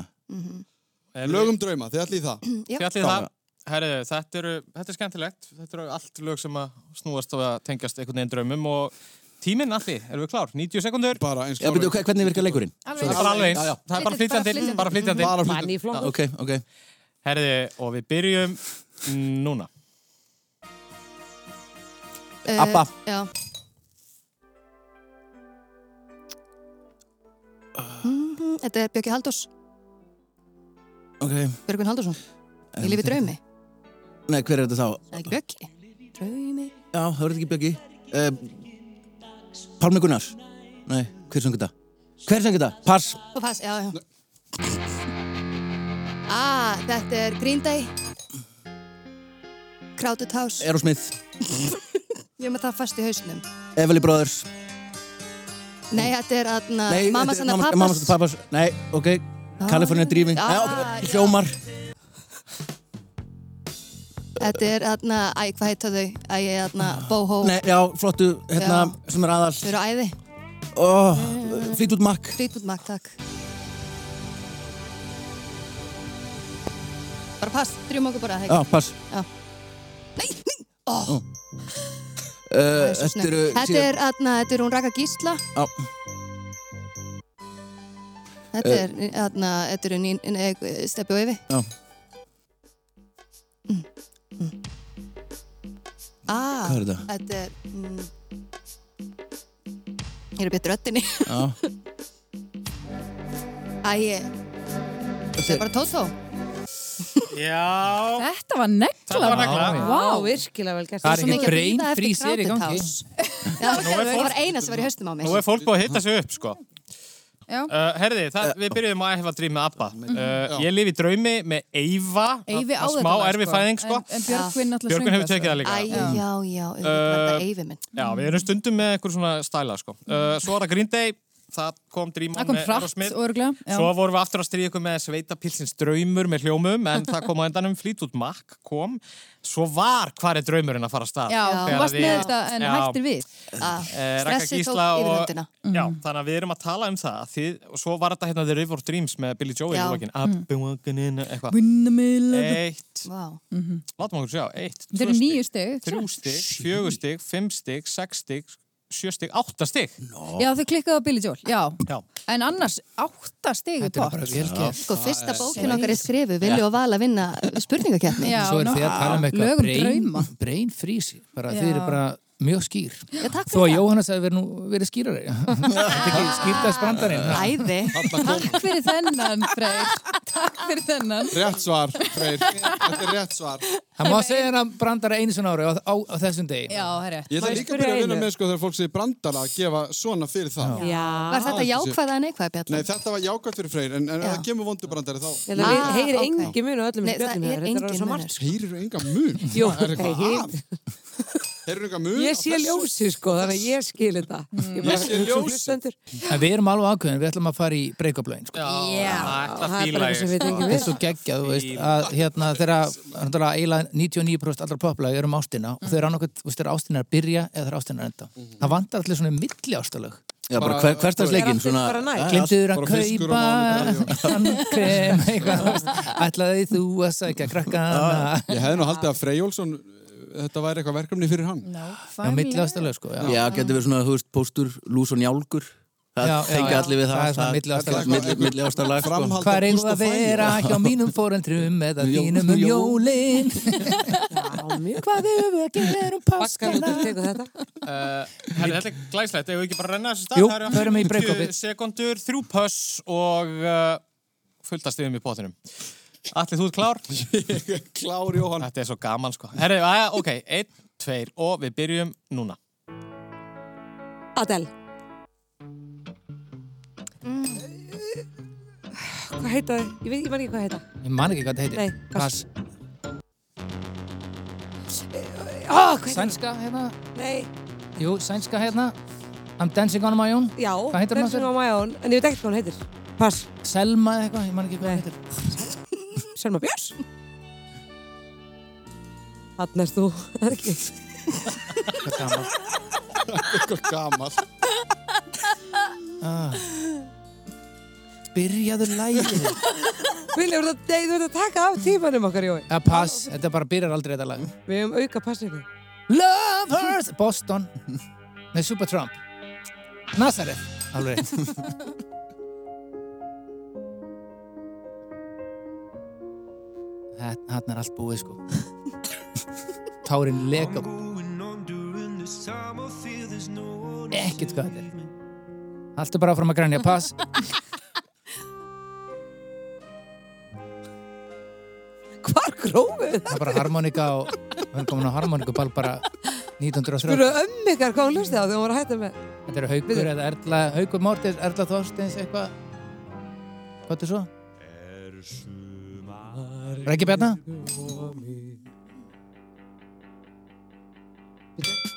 Eh,
Lögum drauma, þið ætlið í það.
Já.
Fjallið það, herriðu, þetta, eru, þetta er skemmtilegt, þetta eru allt lög sem að snúast og að tengjast einhvern veginn draumum og tíminn allir, erum við klár, 90 sekundur,
Bara eins
Já, byrju, hve- hvernig virkar leikurinn?
það
Alveg.
er bara alveg
Já, já.
eins, það er bara
Flytjandi, bara
flytjandi,
flytjandi.
bara flytjandi,
Bara flýta.
Mann í flokkur.
Ok, ok
herriðu, og við byrjum núna.
Eh,
Abba.
Já Mhm, Þetta er Björki Haldós,
Ok,
Björgvin Haldósson Ég lifi draumi,
nei, hver er þetta þá?
það er ekki Björki Draumi
Já, það verður ekki Björki uh, Pálmi Gunnars Nei, hver söngur þetta? Hver söngur þetta? Pass
Og pass, já, já Ah, þetta er Green Day Crowded House
Aerosmith
Ég er með það fast í hausnum
Everly Brothers
Nei, þetta er aðna
Nei,
Mamma
þetta er
sanna
mamma-
pappas
Mamma sanna pappas Nei, ok California Dreaming
Ah,
Nei, ok,
já.
Hljómar
Þetta er aðna, æ, hvað heita þau? Æ, ég er aðna, Boho
Ah. Nei, já, flottu Hérna, sem er aðal
Þau eru æði,
oh, Flýt út makk
Fleetwood Mac, takk Bara pass, drjum okkur bara,
Já,
hekk
pass
Nei, nei, ó,
uh,
það er svo
Þetta
snögg.
eru
Þetta
síðan-
er aðna, þetta er hún Raka Gísla
Já.
Þetta er aðna, þetta er hún eh, Steppi og Yfi
Já.
Mm, mm. Ah,
Hvað er þetta?
þetta er mm, Ég er betur öttinni
Já
<laughs> Æ, ég- þetta er bara Tótó
Já,
Þetta var negla.
Þetta var negla.
Vá,
Vá, virkilega vel gert.
Það er
Svo
ekki
mikið að
brain
bíða eftir
freeze er í
Crowded
gangi.
House. Já, það var eina sem var í höstum á mér
nú er fólk búið að hitta sig upp, sko.
Já.
Uh, herði, það, við byrjum á Æfa Dream með Abba. Uh, ég lifi í draumi með Eyva,
Eyvi á þetta.
smá
lag,
erfi fæðing, sko.
En, en Björgvin sko. alltaf
Björgun hefur tekið það líka.
Æ, já, já, já,
Uh,
þetta var þetta Eyvi minn
Já, við erum stundum með einhver svona stæla, sko. Uh, svo er það Green Day, það kom Dream
Það
On
kom
með
hratt,
Aerosmith.
örugglega, já.
Svo vorum við aftur að stríða ykkur með sveitapilsins draumur með hljómum en það kom á endanum Fleetwood Mac kom. Svo var hvar er draumurinn að fara að stað.
Já, þú
Þegar
varst
við-
með þetta en
Já.
hættir við.
Ah.
Eh, Ragga Gísla og, já,
Mhm.
þannig að við erum að tala um það að þið, og svo var þetta hérna The River of Dreams með Billy Joel í
Já.
lokin I've been walking in eitthvað
In the middle of the-
eitt,
Mm.
látum okkur sjá eitt,
Þetta eru nýju steg.
þrjú stygg, fjögur stygg, fimm stygg, sex stygg sjö stygg, átta stygg no.
Já, þau klikkaðu á Billy Joel, já.
Já.
En annars, átta steg í pott.
Sko, fyrsta bókin okkar er skrifu Vilju og Val að vinna spurningakeppni
Já,
svo er
ná-
þið að tala með
lögum
um
eitthvað brain,
drauma.
brain freeze bara,
Já.
þið eru bara mjög skýr
Já, takk
þó að
fyrir það
Jóhannes hefði verið, nú-
<laughs>
verið skýrari Þetta er ekki skýrtast brandarinn
Æði
Takk fyrir þennan, Freyr. Takk fyrir þennan.
Rétt svar, Freyr. Þetta er rétt svar.
það má segja hann brandara einu svona ári á, á, á þessum degi
Já, herri.
Ég ætla líka að byrja að vinna með sko þegar fólk segir brandara að gefa svona fyrir það.
Já.
Var þetta jákvæða en neikvæða bjallan?
Nei, þetta var jákvæmt fyrir Freyr, en, en ef það kemur vondur brandari þá...
Ég held að við- Ah, heyrir ok. engin mun á öllum Nei, það spjöllunum er þeirra, þetta er engin orðið svo munur,
Heyrir enga mun?
Jú,
Það er eitthvað
heyrir.
að? Heyrir enga mun?
Ég
á
sé
þessu?
ljósið sko, þannig að ég skil þetta. Ég, bara-
Ég sé
hugsa um
ljósið.
hlustendur.
en við erum alveg ákveðin, við ætlum að fara í breakablöðin sko.
það er bara eitthvað sem
sko.
við tengjum
þetta er
við.
svo geggjað, þú veist, að hérna þeirra, náttúrulega eiginlega 99% allra poplagi eru um ástina og
Mm.
þau eru annað, þú veist, þeirra ástina að byrja eða þeirra ástina að enda. Það vantar allir svona milli ástalög.
Já, bara hver- hversdagsleikinn, svona-
Glimtuður að
Bara fiskur og
<laughs>
kaupa
málningar,
<laughs>
tannkrem, eitthvað, þú veist, ætlaði þú að sækja krakkana.
Ég hefði nú haldið að Freyr Jólfsson, þetta væri eitthvað verkefni fyrir hann.
Já, milli ástalög, sko, já.
Já, getur verið svona, þú veist, póstur, lús og njálgur
Já,
Það
já,
tengja
já.
allir við
Það
það
er svona milliástarlag.
milli- Milli ástarlag sko.
Hvað er eigum að vera hjá mínum fórendrum eða þínum um jólin? Hvað erum við að gera um páskana?
Eh, Herri, þetta er glæslegt, eigum við ekki bara að renna þessu stað
Jú,
Það eru
förum í breakupið.
50 Sekundur, þrjú pöss og uh, fullt að stiðum í pottinum Allir, þú ert klár? Ég er klár, Jóhann Þetta er svo gaman, sko Herri, aðja, ok, einn, tveir og við byrjum núna
Adele. Mm. Hvað heita þau? Ég veit, ég man ekki hvað heita.
Ég man ekki hvað þetta
Nei,
heitir. Pass.
Ah, hvað heita
Sænska hérna?
Nei.
Jú, sænska hérna. I'm dancing on my own.
Já,
Hvað heitir hún
Dancing on
aftur?
my own, en ég veit ekkert hvað hún heitir. Pass.
Selma eða eitthvað, ég man ekki hvað hún heitir.
Selma Björns. Þarna erst þú, <laughs> er ekki?
Hvað gammal?
Eitthvað gammal.
Ah. Byrjaðu lægið.
Vilja, þú ert að- nei, þú ert að taka af tímanum okkar, Jói.
Ja, pass, þetta bara byrjar aldrei þetta lag.
Við hefum auka passinu.
Love Earth, Boston. Nei, Supertramp. Nazareth, alveg rétt. Hann er allt búið, sko. Tárin leka. Ekkert hvað þetta er. Haltu bara áfram að grænja, pass.
Hvar grófið?
Það er bara harmonika og við erum komin á harmonikuball bara 1930.
Spurðu ömmu ykkar hvað hún hlustið á þegar hún var að hætta með.
Þetta eru Haukur eða Erla, Haukur Mortins, Erla Þorsteins, eitthvað. Hvað er svo? Rækki Bjarna?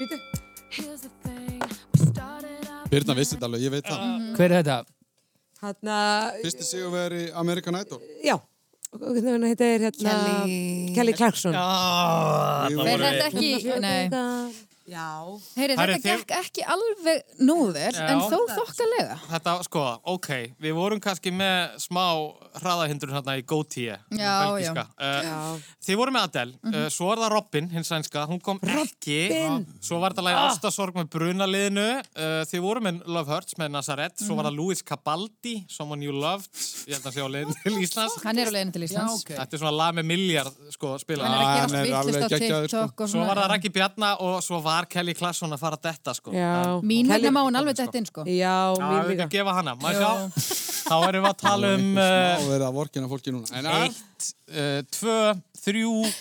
Býtu.
Birna vissi þetta alveg, ég veit það.
Hver er þetta?
Hanna,
Fyrsti sigur veri American Idol.
já. Hvernig hún heitir hérna?
Kelly-
Kelly Clarkson.
Já,
Fer þetta ekki, nei.
Já.
Heyri,
Herri,
þetta
þið-
gekk ekki alveg nóður,
Já.
en þó þokkalega.
Þetta, sko, ok, við vorum kannski með smá hraðahindur hérna í gótíi.
Já, Mhm.
Uh, þið voru með Adele, uh, svo er það Robin, hins sænska, hún kom ekki.
Robin!
Svo var þetta lagi
Ah.
Ástasorg með Brunaliðinu, uh, þið voru með Love Hurts með Nazareth, svo
Mhm.
var það Louis Cabaldi, Someone You Loved, ég held að sé á leiðin
<laughs>
til Íslands.
Hann er á leiðinu til Íslands.
Þetta er svona lag með miljard, sko, spila.
Hann er að gerast Hann er vitlaust alveg á geggjaður, sko. TikTok og
Svo
svona,
var það
já.
Raggi Bjarna og svo var Kelly Klasson að fara að detta, sko.
Já.
Mín vegna má hann alveg dætt inn, sko.
Já,
Já,
mín
við
líka.
ekki gefa hana, maður sjá Þá erum við að tala um
Þá
uh,
verða að vorkina fólki núna. En að,
Eitt, uh, tvö, þrjú,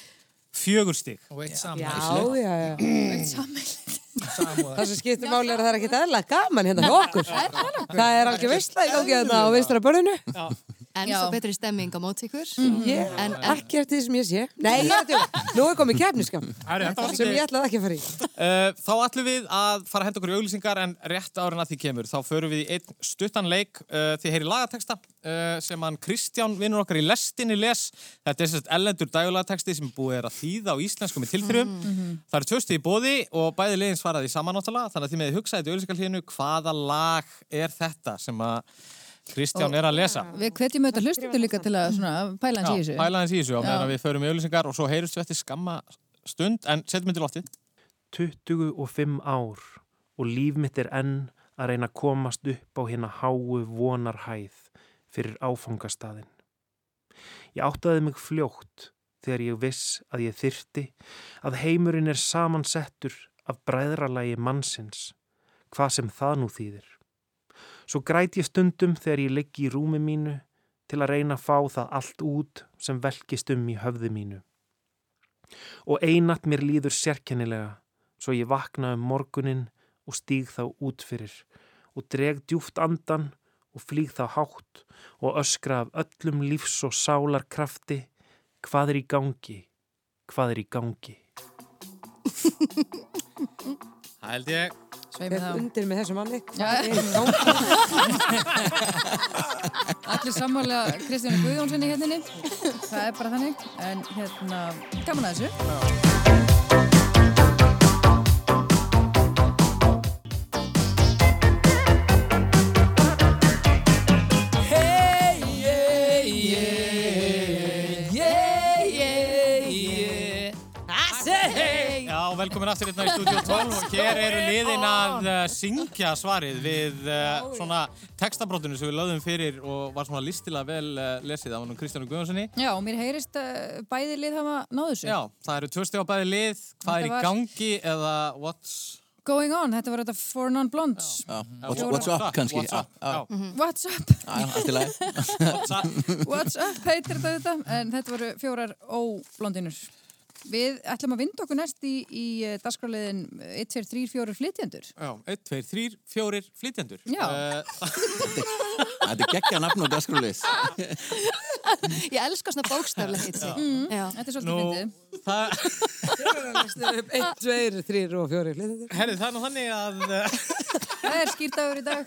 fjögur stig
Og eitt
Já,
saman.
já, já. Það sem skiptir máli er að það er hérna ekkert eðla gaman hérna hjá okkur. Það er algjör veistla í gangi þarna á veistra börnunu.
En
Já.
svo betri stemming á mót ykkur.
Mm.
Ég,
En, en
ekki eftir því sem ég sé Nei, ég ætla Nú er komið kefniskam
Herri, þetta var
Sem
svolítið-
ég ætlaði ekki að fara í
Uh, þá ætlum við að fara að henda okkur í auglýsingar en rétt árin að því kemur þá förum við í einn stuttan leik uh, því heyri lagateksta uh, sem hann Kristján vinnur okkar í lestinni les þetta er sérst ellendur dægulateksti sem búið er að þýða á íslensku með tilþyrjum
Mhm.
það eru tvö stig í bóði og bæði legin svaraði saman áttalega þannig að þið meði hugsaði í auglýsingarlíðinu hvaða lag er þetta sem að Kristján er að lesa
Við hvetjum auðvitað hlustundu líka til að svona, pæla hans í þessu.
Já, pæla hans í þessu á
Já.
meðan að við förum í auglýsingar og svo heyrjumst við eftir skamma stund en setjum við til loftið
25 ár og líf mitt er enn að reyna að komast upp á hérna háu vonarhæð fyrir áfangastaðin. Ég áttaði mig fljótt þegar ég viss að ég þyrti að heimurinn er samansettur af bræðralagi mannsins, hvað sem það nú þýðir. Svo græt ég stundum þegar ég liggi í rúmi mínu til að reyna að fá það allt út sem velkist um í höfði mínu og einatt mér líður sérkennilega svo ég vakna um morgunin og stíg þá út fyrir og dreg djúft andan og flýg þá hátt og öskra af öllum lífs og sálar krafti hvað er í gangi, hvað er í gangi.
Það held ég
Sveimi
Ég
þá.
undir með þessu manni
Allir sammála Kristjánu Guðjónssoni hérninni. Það er bara þannig. En hérna, gaman að þessu.
Hey, yeah, yeah, yeah, yeah, yeah. I said hey. oh.
Já, velkomin aftur hérna í
<laughs>
Studio 12 og hér eru liðin að uh, syngja svarið við uh, svona textabrótunum sem við lögðum fyrir og var svona listilega vel uh, lesið af hann Kristjánu Guðjónssoni.
Já, og mér heyrist uh, bæði lið hafa náðu þessu.
Já, það eru tvö steg á bæði lið, hvað er
Þetta var-
í gangi eða what's...
Going on, þetta var þetta For Non-Blondes.
Já, what's, what's up kannski?
Ah, What's up,
Já,
Mm.
Mhm. What's up?
já. Já, já, allt í lagi.
What's up heitir þetta þetta, en þetta voru fjórar óblondinur. Við ætlum að vinda okkur næst í, í eh, dagskráliðin 1, 2, 3, 4 flytjendur.
Já, 1, 2, 3, 4, flytjendur. Eh,
Já.
Þetta er geggja nafn og <laughs> dasgrúlis.
ég elska svona bókstaflega hitt.
Mm.
Þetta
er svolítið fyndið.
Það... <laughs>
Einn, tveir, þrýr og fjórir
Herri, það er nú þannig að... Uh,
Það er skýrtaður í dag.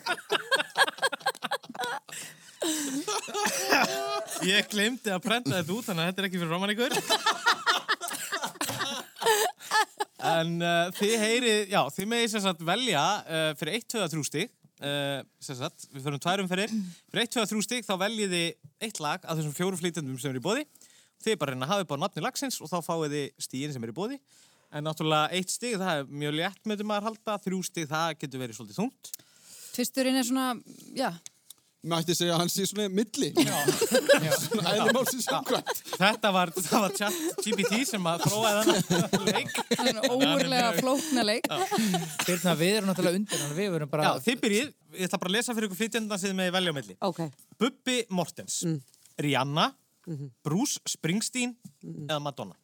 Ég glemdi að prenta þetta út þannig að þetta er ekki fyrir roman ykkur En uh, þið heyrið, já, þið megið sem sagt velja uh, fyrir 1, 2, 3 stig uh, sem sagt, við förum tværum fyrir fyrir 1, 2, 3 stig þá veljið þið eitt lag af þessum fjóru flýtendum sem eru í bóði þið bara reyna að hafa upp á nafni lagsins og þá fáið þið stíin sem eru í bóði en náttúrulega eitt stig, það er mjög létt með maður halda, þrjú stig, það getur verið svolítið þungt
Tvisturinn er svona, já,
Mætti segja að hann sé svona milli. <laughs>
Já.
Svona eðlumálsins samkvæmt.
Þetta var, það var chat GPT sem að þróaði þennan leik.
svona óurlega flókna leik.
Birna, við erum náttúrulega undir hann, við verum bara... Já, þið byrjið, ég ætla bara að lesa fyrir ykkur flytjöndan sem þið með velja á milli.
Ok.
Bubbi Mortens, Rihanna, Bruce Springsteen eða Madonna.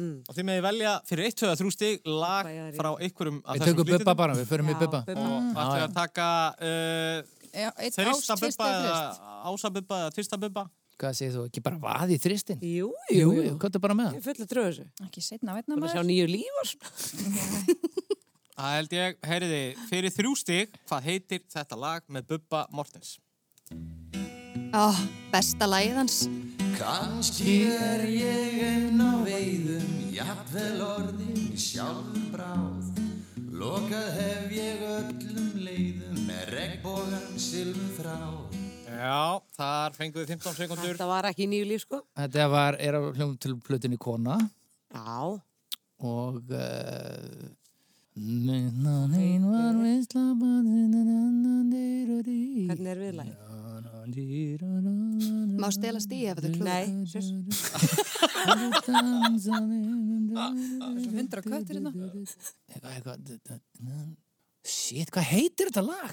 Og þið með velja fyrir 1, 2, 3 stig lag frá einhverjum af
Við tökum Bubba
flytjendum.
bara, við förum í Já, Bubba. Bubba.
Og
Já,
ætlaðu
já.
að taka uh,
Já, einn
þrista
ást,
bubba
tvista
eða
þrist.
ása bubba eða tvista bubba.
Hvað segir þú, ekki bara vaði í þristin?
Jú,
jú, jú, hvað er bara með það?
Ég fulla tröðu þessu
Ekki setna veitna
Bara
maður.
sjá nýju líf og svona
Það held ég, heyriði, fyrir þrjú stig, hvað heitir þetta lag með Bubba Mortens?
Ó, besta lagið hans.
Kanski er ég einn á veiðum, jafnvel orðin sjálfbráð. Lokað hef ég öllum leiðum með regnbógan silfráð.
Já, þar fenguðu 15 sekundur.
Þetta var ekki nýju líf sko
Þetta var, er á hljóðum til plötinni Kona
Já
og uh, Minnan ein var við slappaðinn en annan deyru rík
Hvernig er viðlæg?
Má stelast í ef þetta er klúð.
Nei, sjöss.
Hundra köttir hérna.
Eitthvað, eitthvað Shit, hvað heitir þetta lag?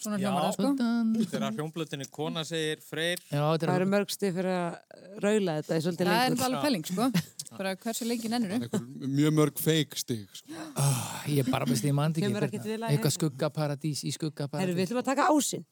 Svona
Já.
hljómar það sko.
Þegar hljómblötinni kona segir Freyr
Já,
Það eru mörgsti fyrir að raula þetta í svolítið
Það er
lengur
alveg pæling sko. bara hversu lengi nennur
Mjög mörg feik stig sko.
Ég bara veist ég mandi ekki
Kemur ekki til
hvernig-
að-
Eitthvað skuggaparadís
Herru,
í
við
skuggaparadís
ætlum að taka ásinn.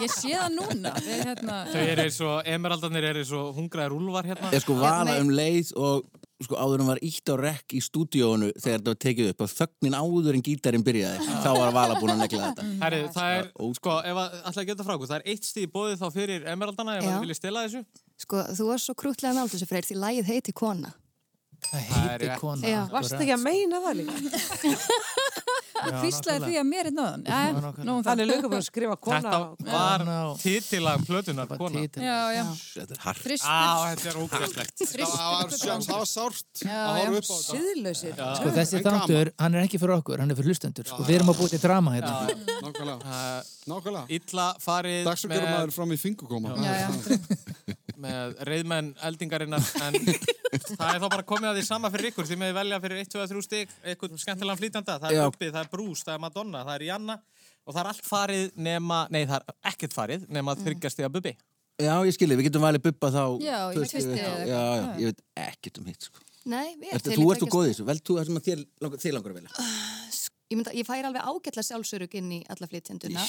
Ég sé það núna. Við, hérna,
Þau eru eins og, emeraldarnir eru eins og hungraðir úlvar hérna.
Ég sko vala um leið og sko áður en var ítt á rekk í stúdíónu þegar þetta var tekið upp og þögnin áður en gítarinn byrjaði þá var vala búin að negla þetta
Herri, það er, sko, ef að, alltaf að geta frá okkur, það er eitt stíð bóðið þá fyrir emeraldana ef
Já.
hann vilja stela þessu.
Sko, þú varst svo krútlega með allt þessu freyr því lagið heiti Kona.
Það er rétt.
Já.
Varst ekki að meina það líka? <laughs>
Þú hvíslaði því að mér hérna er náðan.
Þannig lögum við að skrifa kona.
Þetta var titillag plötunar kona.
Já, já.
<laughs> Þetta er hart.
Frystur.
Á, þetta er ógæslegt.
Það var sárt
Já,
að
já.
horfa upp á þetta.
Siðlausir.
Sko þessi þáttur, hann er ekki fyrir okkur, hann er fyrir hlustendur sko. Við erum að búið til drama hérna
Nákvæmlega. Nákvæmlega.
Illa farið
Dagsakjörum
með-
maður fram í fingurgóma.
Já, með reyðmenn eldingarinnar en það er þá bara komið að því sama fyrir ykkur því með velja fyrir 1, 2, 3 stig eitthvað skemmtilega flýtanda, það
Já.
er Bubbi, það er Bruce, það er Madonna, það er Janna og það er allt farið nema, nei það er ekkert farið nema þryggjast því að Bubbi
Já, ég skilji, við getum valið bubba þá
Já, í
tvö stig.
tvisti
Já,
eða
já, já,
eitthvað.
ég veit ekkert um hitt sko.
Nei, við
Ertu, Þú ert þú góð í þessu, vel þú það sem að þér langar, þér langar að velja
Ég, mynda, ég fær alveg ágætla sjálfsörug inn í alla flytjenduna.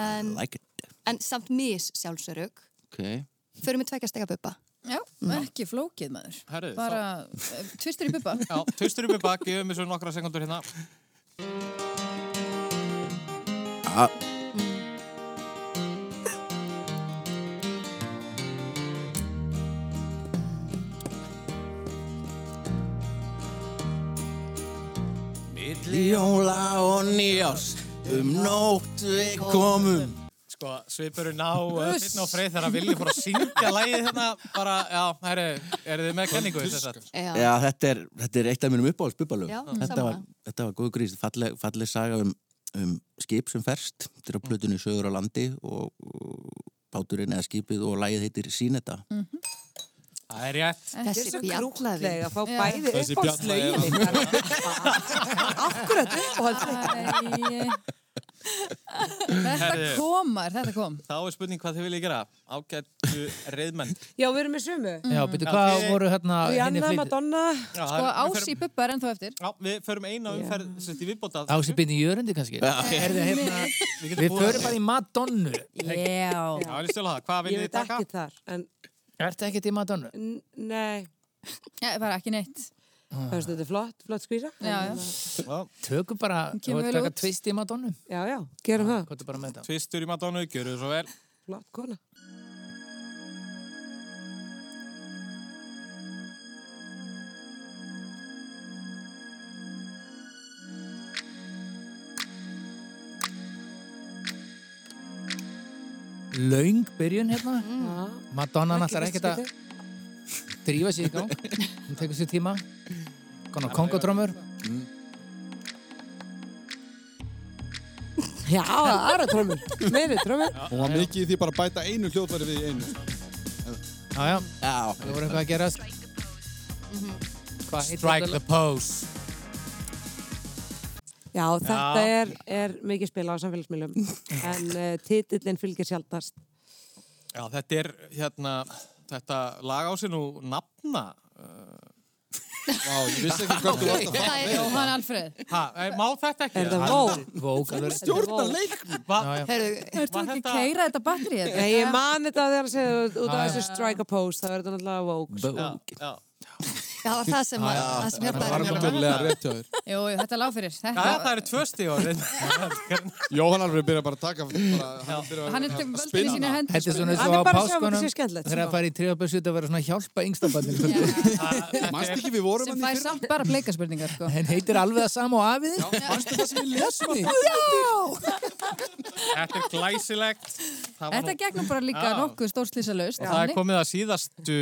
En,
Like it,
en samt mis sjálfsörug.
ok
Förum við tvekja stega buppa.
Já, ekki flókið maður.
Herðu,
Bara eh, tvistur í bubba.
Já, tvistur upp í bak, gefum við svo nokkra sekundur hérna
Ah. Milli jóla og nýjás um nótt við komum
Sko, svipurinn á uh, fyrn og freyð þegar að vilja fór að syngja lægið hérna bara, já, herri, eru þið með kenningu þess að
Já,
Já, þetta er, þetta er eitt af mínum uppáhalds bubbalög.
Já,
Þetta var,
sammála.
þetta var góð grís, falleg, falleg saga um, um skip sem ferst, þetta er á plötunni sögur á landi og, og báturinn eða skipið og lægið heitir Síneta.
Það er rétt
Þessi
Þessi bjallaði.
krútlega að fá
Já.
bæði
Þessi
uppáhaldslögin <laughs> Akkurat uppáhaldslögin
Þetta
Herðu.
komar, þetta kom.
Þá er spurning hvað þið viljið gera Ágættu reyðmenn
Já, við erum með sömu
Já, byrju, hvað
þið-
voru hérna hinni
Rihanna,
flyt-
Madonna
Já,
Sko,
það er- við
ás í bubba er ennþá eftir.
Já, við förum eina umferð sem þetta í viðbóta
Á sér byrni í jörundi kannski Er þið hérna
Við
Við förum bara í Madonnu
Já.
Já, ég stjóla það, hvað
Ég
viljið þið
veit
taka?
ekki þar en,
Ertu ekkert í Madonnu?
n- Nei,
Já, bara ekki neitt.
það er þetta er flott, flott skvísa
Já, já.
Tökum bara
Hún
Þú
kemur
veit
vel
taka
út.
tvist í Madonnu
já, já, gerum það
Hvað er bara með þetta?
Tvistur í Madonu, gjöru svo vel
Flott kona
Laung byrjun hérna
Já.
Madonna náttúrulega
Mm. Ekki
ekkert að
fyrsta
drífa sér í gang Hún tekur sér tíma Konar kongodrömmur
skipti. Já, það er aðra trómur Meiri trómur
Hún var mikið í því bara að bæta einu hljóðfæri við í einu.
Já, já,
Já,
það voru eitthvað að gerast Hvað
Mhm.
heitir
Strike
þetta
the pose
Já, þetta er, er mikið spila á samfélagsmiðlum en uh, titillin fylgir sjaldast
Já, þetta er hérna Þetta lag á sér nú nafna
Vá, ég vissi ekki hvað þú varst að fara.
Það er Jóhann Alfred.
ha, e, Má þetta ekki?
Er það vó?
Vók alveg
Stjórna leiknum.
Va,
Já, já.
Þú ert
Var
ekki
þetta-
að keira þetta batterið?
Nei, ég man þetta að þegar að segja út af
Já, já.
þessu strike a pose, það verður þetta náttúrulega vók
já,
Vók
já.
það var það sem, að, það sem hjálpaði.
Það var mjögulega rétt hjá þér.
Jú, jú, þetta lág fyrir.
Já,
Þetta,
það eru tvö stíð <laughs>
Jóhann alveg byrja bara að taka, bara, hann byrja
hann er
að-
til
að
völdin í
spinna.
sína hendur. sko.
Þetta er svona eins
Hann
og
er
á
bara að sjá um þetta
páskunum
sé skemmtilegt,
Þegar það
sko.
fara í trefabössu Þetta verður svona að hjálpa yngstabarnir
Manstu ekki við vorum hann
sem
í
fær samt bara bleika spurningar sko.
En heitir alveg það sama og afið þinn?
fyrir? Manstu það sem við lesum í?
Þetta er glæsilegt Það var
Þetta
nú-
gegnum bara líka
Já.
nokkuð stórslýsa laust
Og það er komið að síðastu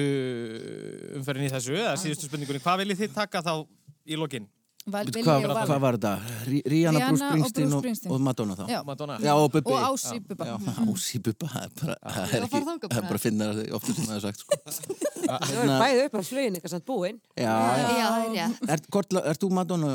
umferðin í þessu, eða síðustu spurningunni. Hvað viljið þið taka þá í lokinn?
Hvað, hvað, hvað var þetta? Rí- Rihanna,
Rihanna
Bruce
og
Springsteen
Bruce
og,
Springsteen.
og, Madonna þá?
Já.
Madonna?
Já, og Bubbi.
Og Ási í Bubba.
Já, <laughs> Ási Bubba, það er bara, það er
Já,
ekki,
fara þangað
það er
bara.
bara að finna það ofta sem það er sagt, sko.
Það verður bæði upp á flugin, eitthvað samt búinn
Já, já.
Já, það er rétt.
Er, hvort, lag- ert þú Madonna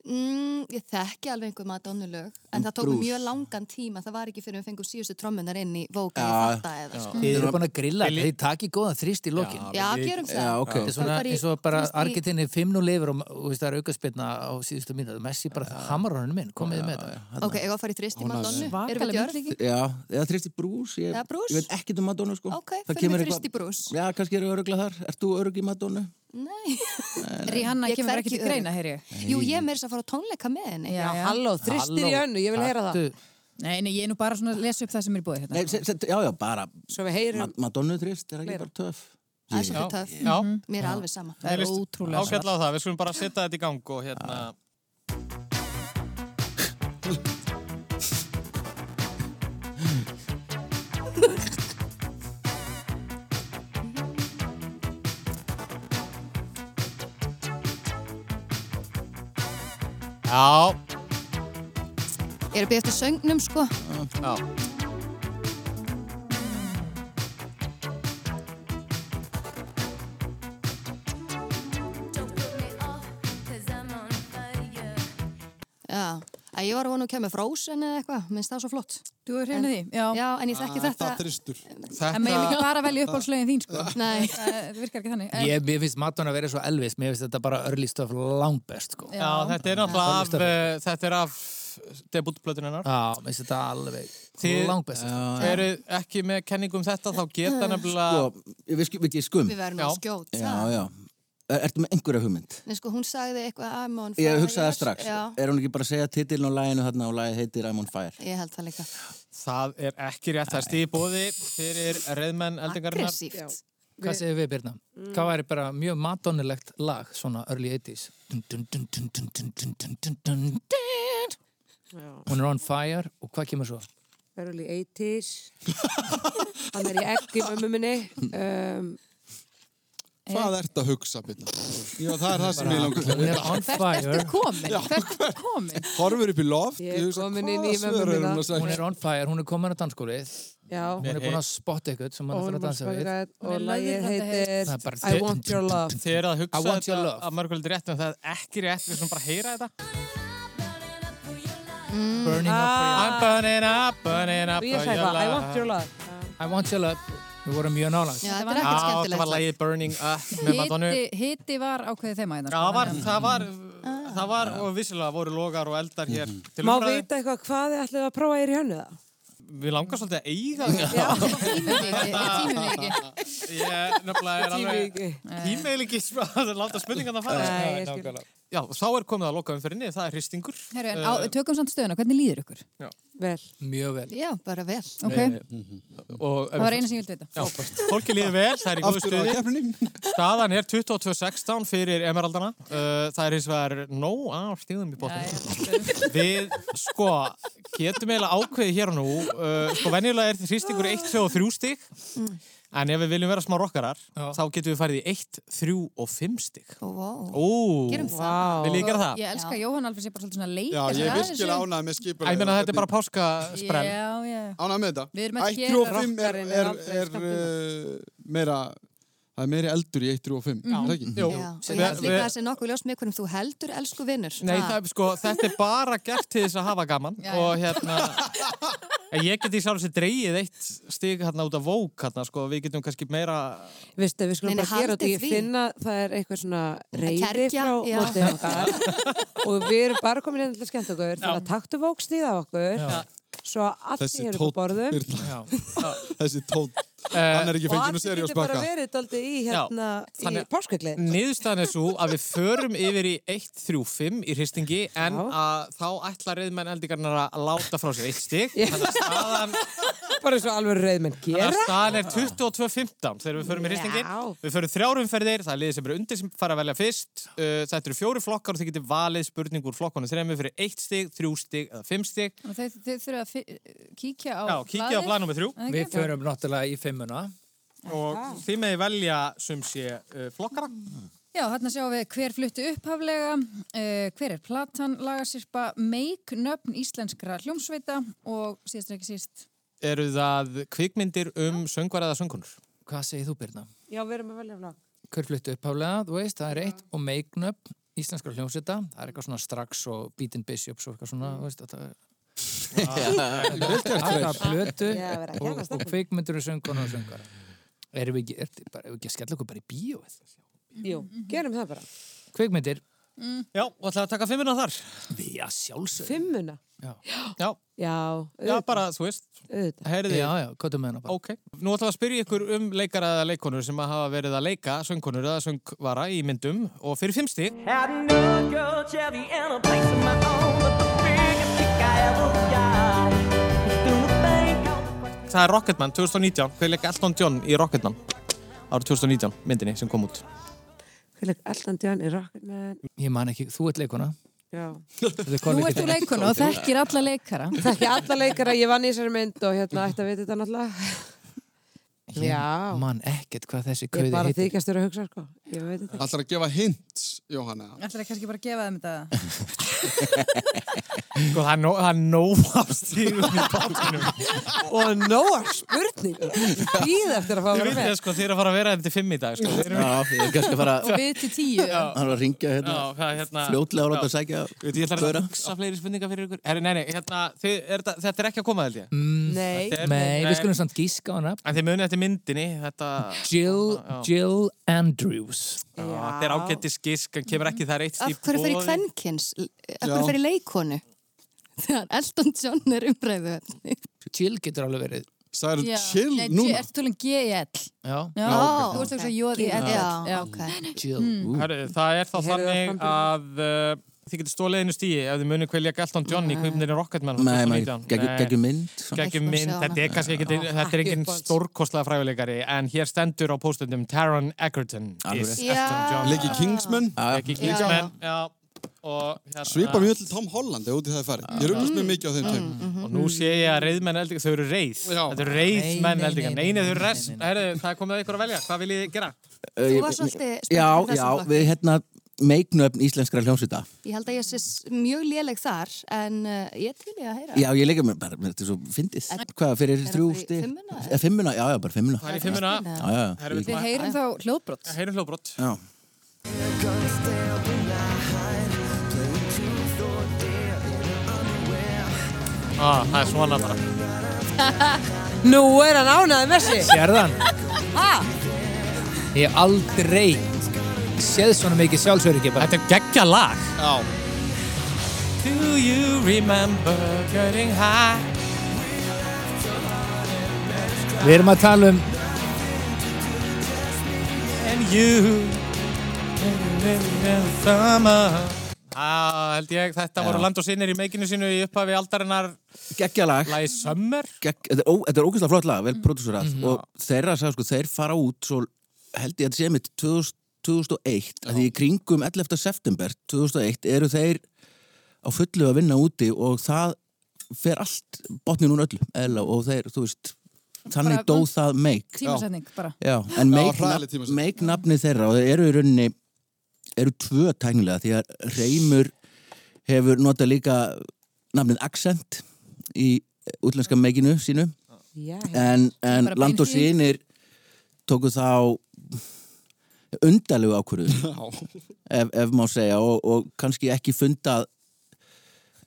Mm, ég þekki alveg einhver Madonna-lög, en það tók
Bruce.
mjög langan tíma, það var ekki fyrir við fengum síðustu trommunar inn í vóka ég
Já,
fatta eða sko.
Þið eru búin að grilla, þið takir góðan þrýst í lokin.
Já, við- gerum það.
Já, ok.
Já.
Þetta er svona
Það er bara í-
eins og bara
þú veist, í-
Argentinni 5-0 lifur og og veist, það er aukaspilna á síðustu mínu. Messi bara hamar honum minn, komið þið með þetta.
Ok, ég var að fara í þrist í
Hún á-
Madonna, erum við
Svakaleg
djörf?
myndlíking.
Já, eða Tristi Brús ég,
Eða Bruce?
ég veit ekkert um Madonna sko
Ok,
Það
förum
kemur
við
eitthvað-
Tristi Bruce.
Já, kannski eru örugla þar Ert þú örug í Madonna?
Rihanna
Ég
kemur
hvergi
ekki til
örugg.
greina, heyri ég.
Jú, ég er meira þess að fara á tónleika með henni.
Já, já. halló, þrýstir í Halló, önnu, ég vil heyra það. taktu. Nei, nei, ég er nú bara svona að lesa upp það sem er búið hérna.
Nei, se, se, já, já, bara
Svo við heyrum
Ma- Madonna Trist, er það ekki bara töff?
Það er svolítið töff.
já.
Mhm. Mér er alveg sama.
Mér líst Ágætlega á það, við skulum bara setja þetta í gang og hérna Já,
Ég er að byrja eftir söngnum, sko.
já
Já. Æ, ég var að vona að kemur Frozen eða eitthvað, minnst það svo flott.
Þú er hrifin af því, já.
Já, en ég þekki þetta.
þristur.
En maður ekki bara velja uppáhaldslögin
<laughs>
þín, sko.
Nei.
<laughs> Það það virkar ekki þannig. En-
Ég, ég finnst Madonna að vera svo Elvis, mér finnst þetta bara early stuff langt best, sko.
Já, þetta er náttúrulega af, eh, þetta er af debutplötun hennar.
Já, mér finnst þetta alveg langbest.
Þið eru ekki með kenningum þetta, þá geta nefnilega...
Sko, við, skum, við, skum.
Við verðum að skjóta.
Já, já Er- Ertu með einhverja hugmynd?
Nei, sko, hún sagði eitthvað I'm on fire.
Ég hugsaði það strax
Já,
Er hún ekki bara að segja titilin á læginu þarna og lægi heitir I'm on fire?
ég held það líka.
Það er ekki rétt, það er stíði bóði fyrir reyðmenn eldingarinnar.
Aggressíft.
Hvað segir við, Birna?
Mm.
Hvað væri bara mjög madonnilegt lag, svona early 80s? Dun, dun, dun, dun, dun, dun, dun, dun, dun, dun, dun. Hún er on fire og hvað kemur svo?
Early 80s Hann er í egg í mömmu minni um,
Hvað ert að hugsa, Binna? Já, það er það sem ég langar til að
Hún er
vita.
on fire.
komin, hvert er komin?
Horfur upp í loft.
Ég er
hugsa,
komin
hvað
inn í
svör
mömmu
er hún
mína.
að segja?
Hún er on fire, hún er komin á dansskólið.
Já.
Hún er búin að spotta ykkur sem
Og
hann
hún
er að
var
dansa við.
spöðræð
Hún
Og
er
lagið
löðrandi
heitir
Það er bara-
I want your love
Þið eru að
I
hugsa
want your
þetta
love.
að mörgulegt rétt, en það er ekki rétt, við skulum bara heyra þetta.
Burning up for you.
I'm burning up, burning up
Og Ah. ég
for
sagði
your
það, I
love.
want your love
I want your love. Við vorum mjög nálað.
Já,
Já,
þetta er ekkert
það
skemmtilegt.
var lagið Burning Up með Madonna.
Hiti- Hiti var ákveðið hérna, sko. þeim að
Já, það var, það var, það var, og vissilega voru logar og eldar hér til
Má
umræðu.
vita eitthvað hvað þið ætlum að prófa þér í hönnu það?
Við langar svolítið að eiga þetta.
tímum við ekki.
Ég nefnilega er
Tími
alveg,
ekki.
tímil ekki, <laughs> sko, að láta spurningarna fara.
Nei, ég skil.
nákvæmlega. Já, þá er komið að loka umferinni, það er hristingur.
Herru, en
Eh,
á,
<laughs>
tökum samt stöðuna, hvernig líður ykkur?
Vel
Mjög vel.
Já, bara vel.
Ok,
og,
það var eina sem ég vildi vita.
Já, fólki líður vel, það er í góðu
Aftur á
stuði.
keppnin.
Staðan er 22.16 fyrir Emeraldana. Uh, það er hins vegar nóg af stíðum í bóttinu. Við, sko, getum eiginlega ákveðið hér og nú. Uh, sko, venjulega er hristingur 1, 2 og 3 stík.
Mm.
En ef við viljum vera smá rokkarar, þá getum við farið í 1, 3 og 5 stík.
Wow.
Ó,
Gerum það.
Vil ég gera það?
Ég elska að Jóhann Alfred sé bara svolítið svona leikast
Já, ég er
að þessu.
virkilega ánægð með
Æ,
skipulega.
ég meina, þetta er bara páskasprell.
Já, já.
Ánægð með þetta.
Við erum að
1, 3 og 5
gera
er,
rokkarinn
er,
aldrei
er, uh, meira, það er meiri eldur í 1, 3 og 5.
Já.
Það ekki?
Jú.
Já, og
Sem
ég held
við-
líka
við-
að það sé nokkuð ljós með hvernig þú heldur, elsku vinnur.
Nei, það er, sko, þetta er bara gert til þess að hafa gaman
Já, já.
og hérna en ég geti sálega sér dreigið eitt stig hérna út af vók hérna, sko, við getum kannski meira
Vistu, við skulum
Nei, nei,
bara gera þetta
haldið
Ég
því.
finna að það er eitthvað svona reyði
Kergja,
frá
já.
mótið okkar og við erum bara komin hérna til að skemmta okkur þannig að taktu vóksnið á okkur svo að allt
Þessi
því eru
tónn,
på borðum
Birna. <laughs>
Já.
Þessi tón,
Eh,
Eh,
hann er ekki
og
fengið nú
allt
serið
getur bara verið daldið í hérna
Já, þannig-
í páskaglið
niðurstaðan er svo að við förum yfir í 1-3-5 í hristingi en að þá ætla reyðmenn eldingarnar að láta frá sér eitt stig þannig að staðan,
bara svo alveg reyðmenn
þannig
gera
að staðan er 22-15 þegar við förum í hristingin
Já.
við förum þrjárumferðir, það er liðið sem eru undir sem fara að velja fyrst uh, þetta eru fjóri flokkar og þið getið valið spurning úr flokkunum þremi fyrir eitt stig, þrjú stig eða fimm stig
Og Þeir, þeir þurfa að fi- kíkja á
Já, kíkja á blað nummið þrjú
Ekki?
Við förum náttúrulega í fimmuna.
og þið meði velja sem sé uh, flokkara
Já, þarna sjáum við hver flutti upphaflega, uh, hver er platan, lagasirpa, meik, nöfn íslenskra hljómsveita og síðast en ekki síst.
eru það kvikmyndir um söngvar eða söngunur
Hvað segir þú, Birna?
já, við erum að velja flokk
Hver fluttu upphálega, þú veist, það er eitt og make-up íslenskar hljómsvita það er eitthvað svona strax og Beatin Bishops og eitthvað svona, þú veist, þetta
<laughs>
er
Vel gert, Freyr.
aðra plötu
Já, verið að
og,
kenna
og
stelpum.
kveikmyndur og söngun og söngar erum við ekki, er, bara, erum við ekki að skella okkur bara í bíóið
Jú, gerum það bara.
kveikmyndir
Já, og ætlaðu að taka fimmuna þar?
Já, sjálfsög
Fimmuna?
Já.
Já.
Já, bara, þú veist. Heyrði.
Já, já, kóttum með hana bara.
Ok. Nú ætlum við að spyrja ykkur um leikara eða leikonur sem að hafa verið að leika söngkonur eða söngvara í myndum og fyrir fimm stík.
Had another girl, Chevy, and a place of my own, but the biggest kick I ever got was through a bank.
Það er Rocketman 2019. Hver leik Elton John í Rocketman? Árið 2019, myndinni sem kom út.
Fylg Elton John í Rocketman.
ég man ekki, þú ert leikuna
Já.
nú
Nú ert þú leikun og þekkir alla leikara.
Þekki alla leikara, ég vann í þessari mynd og hérna ætti að vita þetta náttúrulega. Já.
man ekkert hvað þessi
Ég
kauði
bara
heitir
þykjast þér að hugsa, sko. Ég veit þetta.
Ætlar að gefa hint, Jóhanna?
Ætlar kannski bara að gefa þeim þetta?
Sko, það er nó- það er nóg af stíðum í bátunum.
Og nóa spurning. Býð eftir að fá að
Þið
vera
vitið
með.
það, sko, þið eru að fara að vera eftir fimm í dag, sko. Þið eru-
Já, ég er kannski að fara
Og við til tíu.
Það er að ringja hérna,
Já, hvað, hérna-
fljótlega og láta
Já.
að sækja
Veit, ég ætlar
Gaura.
að hugsa fleiri spurningar fyrir ykkur. Herri, nei, nei, hérna, þið, er, þetta- þetta er ekki að koma, held ég.
Mm,
Nei.
Þetta er-
Nei,
nei.
við skulum samt gíska á hana
En þið munið eftir myndinni, þetta...
Jill, Jill Andrews
Já, þetta er ágættis gísk, en kemur ekki það er eitt stíl.
Af hverju fer í kvenkins? Af hverju fer í leikonu? <laughs> Þegar Elton John er umræðu.
Jill getur alveg verið
Það
Já. Nei, Jill- Ertu tólinn G-I-L?
Já,
Já,
ok.
þú ert ekki að jóði í
Já,
L.
ok.
Jill
Hmm.
Mm. Herri, það er þá
Heyrðu það
þannig að uh, þið getur stólið einu stíi ef þið munið hverja Galton John í kvipnirinn Rocketman.
Nei, maður, geggjum geggjum mynd
Gekki mynd, þetta er kannski ekki,
Já.
þetta er engin stórkostlega fræðuleikari, en hér stendur á póstundum Taron Egerton
Alveg
is
rétt.
Elton John.
Leiki Kingsman?
Leiki Kingsman, já. Og hérna-
Svipa mjög til Tom Holland ef út í það er farið. Ég rullast mjög mikið á
Mm,
þeim tegum.
Og nú sé ég að reyðmenn eldingar, þau eru reyð. Þetta eru reyðmenn eldingar. Nei, nei, þau eru rest. Herðu, það er komið að ykkur að velja. Hvað viljið þið gera?
Þú varst svolítið spennt
Já,
fyrir
já,
þessum flokki.
við hérna meiknöfn íslenskra hljómsvita
Ég held að ég sé s- mjög léleg þar, en uh, ég til ég að heyra.
Já, ég leika mér bara, mér þetta er svo fyndið Hvað, fyrir
það
þrjú
bara í
stig?
fimmuna,
Eh, Fimmuna, já, já, bara fimmuna
Það er í fimmuna.
Já, já,
Herru,
ég-
Við heyrum þá hljóðbrott.
Heyrum hljóðbrott.
Já,
Ah, það er svona bara.
Nú er hann ánaði með sig.
Sérðan,
Ha?
ég hef aldrei séð svona mikið sjálfsöryggi bara.
Þetta er geggja lag Já Do you remember getting high?
Við erum að tala um
And you in the summer Á, held ég, þetta voru land og sinir í meikinu sínu í upphafi aldarinnar
Geggjalag
Lagi Summer
gegg, þetta, er ó, þetta er ógeðslega flott lag, vel
Mm.
prodúserað
Mhm.
og þeirra sagði sko, þeir fara út svo held ég að þetta sé mitt 2000, 2001, að því í kringum 11. september 2001 eru þeir á fullu að vinna úti og það fer allt botnin úr öllu eðla, og þeir, þú veist þannig
Bara
dó
vond
það meik
Tímasetning bara.
Já, en
Já,
Make
hræðileg
nafn- Make nafni þeirra og þeir eru í rauninni eru tvö tæknilega því að Reymur hefur notað líka nafnið Accent í útlenska meikinu sínu
Já,
en, en
Bara
land og
beinþýðing.
sínir tóku þá undalegu ákvörðu ef, ef má segja og, og kannski ekki fundað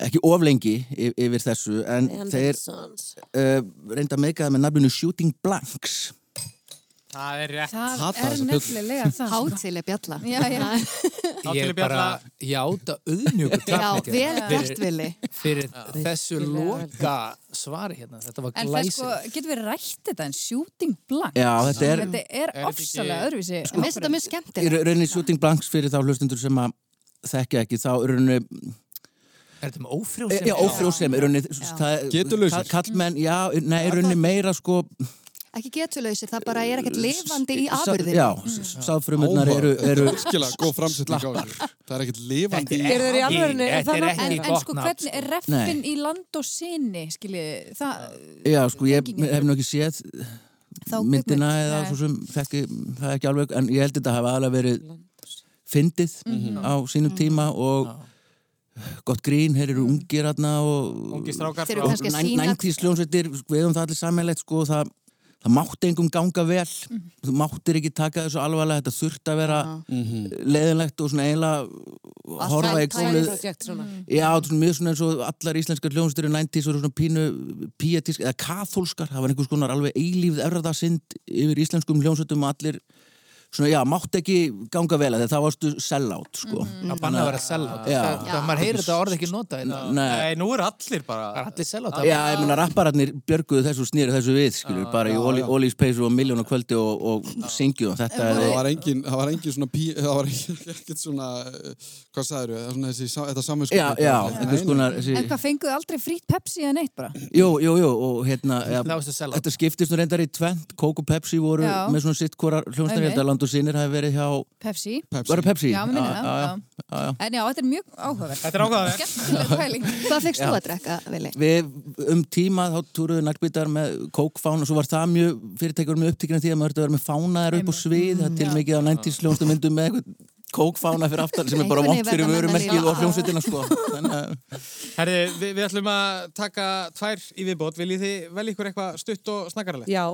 ekki oflengi yfir þessu en
Andersons.
þeir uh, reynda að meikaða með nafninu Shooting Blanks
Það er rétt
Það
Hata
er
þessa plötu.
nefnilega það. sko.
Hátileg bjalla.
Já, já.
ég bara játa auðmjögur
<laughs> Já, vel gert, Vili.
fyrir þessu loka svari hérna, þetta var
En það sko,
glæsilegt
getur við rætt þetta en shooting blank?
Já, þetta er-
Þetta er
þetta ekki-
ofsalega öðruvísi.
Sko- Mér finnst þetta mjög
í
skemmtilegt.
ra- rauninni Shooting Blanks fyrir þá hlustundur sem að þekkja ekki þá í rauninni
Er þetta með ófrjósemi?
Já, ófrjósemi, í rauninni Getulausir Kallmenn, já, nei, í rauninni meira sko
Ekki getulausi, það bara er ekkert lifandi í
sá-
afurðinu.
Já, sáðfrumurnar eru, eh, eru
Skilega, góð framsetning á þessu. Það er ekkert lifandi
Þetta er Eru þeir í alvörunni?
Er það Þetta er nafn?
En, en
ekki gott
sko,
nafn,
hvernig er reffin
Nei.
í land og sinni, skiljið, það,
Já, sko, ég hef nú ekki séð
Þá
myndina
kvikmynd,
eða
nei.
svo sem þekki það ekki alveg, en ég held þetta hafa aðlega verið fyndið á sínum tíma og gott grín, hér eru ungir aðna og
Ungi strákar
Þeir eru kannski að sýna-
næntísljónsveitir, við höfum það allir samanlegt sko, það það mátti engum ganga vel
Mhm.
þú máttir ekki taka þessu alvarlega þetta þurft að vera
Mhm.
leiðinlegt og svona eiginlega horfa í
projekt
gólið
svona
Já, þetta er svona mjög svona eins og allar íslenskar hljónstur í 90s voru svona pínu píetisk eða kaþólskar, það var einhvers konar alveg eilífð erðarsind yfir íslenskum hljónsutum og allir svona, já, mátt ekki ganga vel að þegar það varstu sell-out, sko.
Mhm. Það banna að vera sell-out. Það- það- maður heyrir þetta orð ekki nota, en það-
Nei,
nú eru allir bara.
Allir sell-out.
Já, ég meina, rappararnir björguðu þessu snýru þessu við, skilur, bara í Oli- Ollís peysu og Miljón og kvöldi og, og syngjum. Þetta
Það var
er...
engin, það var engin svona pí, það var engin, <laughs> ekkert svona, eh, hvað sagður við, svona þessi, sa- þetta samvinsku.
Já, já, einhvers konar... þessi-
En hvað fenguðu aldrei frýtt Pepsi eða neitt bara?
Jú, jú, jú, og hérna ja,
Það varstu sell-out.
Þetta skiptist nú reyndar í tvent Coke og Pepsi voru
Já.
með svona sitt hvora hljómsnir
Einmitt.
Þetta land og sinir hafi verið hjá
Pepsi?
Var það Pepsi?
Já, mér minna það.
Já, já,
já.
já, já.
En já, þetta er mjög áhugaverð.
Þetta er áhugavert.
Skemmtileg pæling.
Hvað fegst þú
Já.
að drekka, Vili?
Við um tíma þá túruðu naglbítar með kókfána og svo var það mjög fyrirtækjur mjög upptíkinn af því að maður þurfti að vera með fánaðar upp á svið það er
Mm,
til mikið á næntísljónstu myndum með eitthvað kókfána fyrir aftan sem er bara
Einhvern
vond
veginn
fyrir
verða menn að
vörumerkið
lifa á.
og hljómsveitina sko Þannig að
Herði, við, við ætlum að taka tvær í viðbót. Viljið þið vel ykkur eitthvað stutt og snakkarlega?
Já,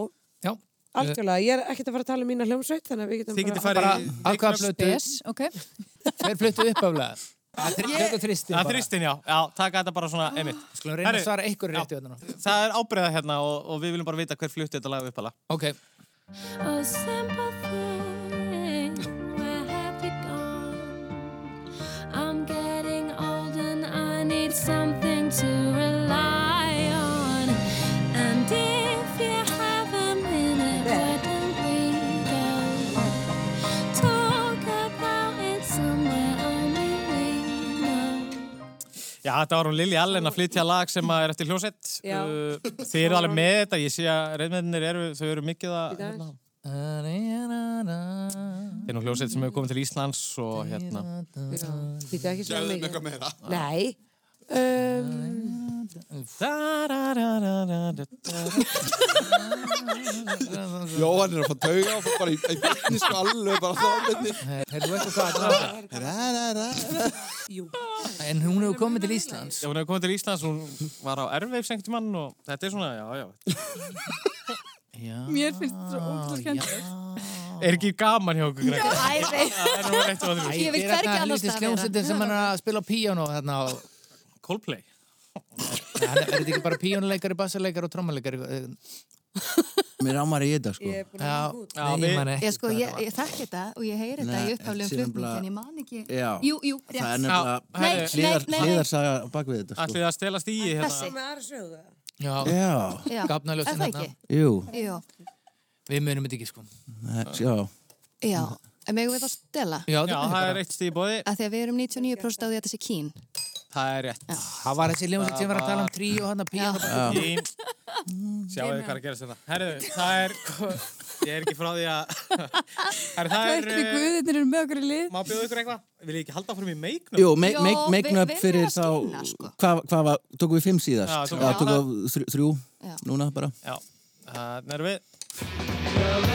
já.
algjörlega, ég er ekkert að fara að tala um mína hljómsveit þannig að við getum
Þið getið
bara-
farið í- Bara
á hvaða plötu?
Yes, ok.
Þeir fluttu uppaflega. Það er ekki þristin
Það
bara.
þrýstin, já. Já, taka þetta bara svona einmitt.
Ah, Skulum reyna að
Herri,
svara einhverju réttu hérna. núna.
Það er ábreiða hérna og, og við viljum bara vita hver flutti þetta lag upp ala.
Ok.
A simple thing where have you gone? I'm getting old and I need something to rely on. And if you have a minute, why don't we go? Talk about it somewhere only we know.
Já, þetta var hún Lili Allen að flytja lag sem að er eftir hljósett.
Já.
Uh, Þið eru alveg með þetta, ég sé að reyðmennir eru, þau eru mikið að... Hérna. Þetta er nú hljósett sem hefur komið til Íslands og hérna...
Býtu ekki svo
Gefðu
mikið.
þeim eitthvað meira.
Nei. Um,
Jóhann er að fara tauga og fara bara í, í byrni sko alveg bara þá byrni.
Heyrðu, veistu hvað þetta var? En hún hefur komið til Íslands.
Já, hún hefur komið til Íslands, hún var á Erveifs einhvern mann og þetta er svona, já, já.
Mér finnst þetta svo ótrúlega skemmtilegt.
Er ekki gaman hjá okkur, Gregor?
Æ, nei.
Það er nú eitt og öðru.
Ég vil hvergi annars
staðar.
staðar vera.
Hljómsveitin sem hann er að spila á píjano þarna á...
Coldplay?
Nei, hann er er þetta ekki bara píjónuleikari, bassarleikari og trommuleikari? Eh,
Mér ámar í þetta sko
Já, nei, ég man ekki.
Ég sko, ég, ég þekki þetta og ég heyri þetta
Nei,
í upphaflegum
þetta er
flutningi
nefnilega-
en ég man ekki
Já.
Jú, jú, rétt
Það er
Nei,
nefnilega
nei,
hliðar-
nei, nei.
hliðarsaga á bak við þetta
Ætlið
sko
að stela stíi
Þessi.
hérna?
Með aðra sögðu það.
Já,
Já.
gafnaljósin
Er það ekki?
Jú,
Jú,
hérna. Við munum þetta ekki sko.
það- já
já En megum við það stela?
Já,
Já, það er eitt stíi bóði.
Af því að við erum 99% á því að þetta sé kín
Það er rétt.
Það var þessi hljómsveit sem var að tala um trí og hann að píjano.
Í... Sjáuðu hvað er að gerast þetta. Herðu, það er... Ég er ekki frá því að... Herðu, það er...
Tækni
eh,
guðinir eru með okkur í lið.
Má bjóða ykkur eitthvað? Vil ég ekki halda fyrir mig meiknum?
Jú, make,
Jó,
make,
við-
make up
við erum
fyrir
að
þá
skýna, sko.
Hvað hva var, tókum við fimm síðast?
Já,
Já,
tókum
tókum
við
við þrjú, þrjú
Já.
núna bara
Já, þannig erum við.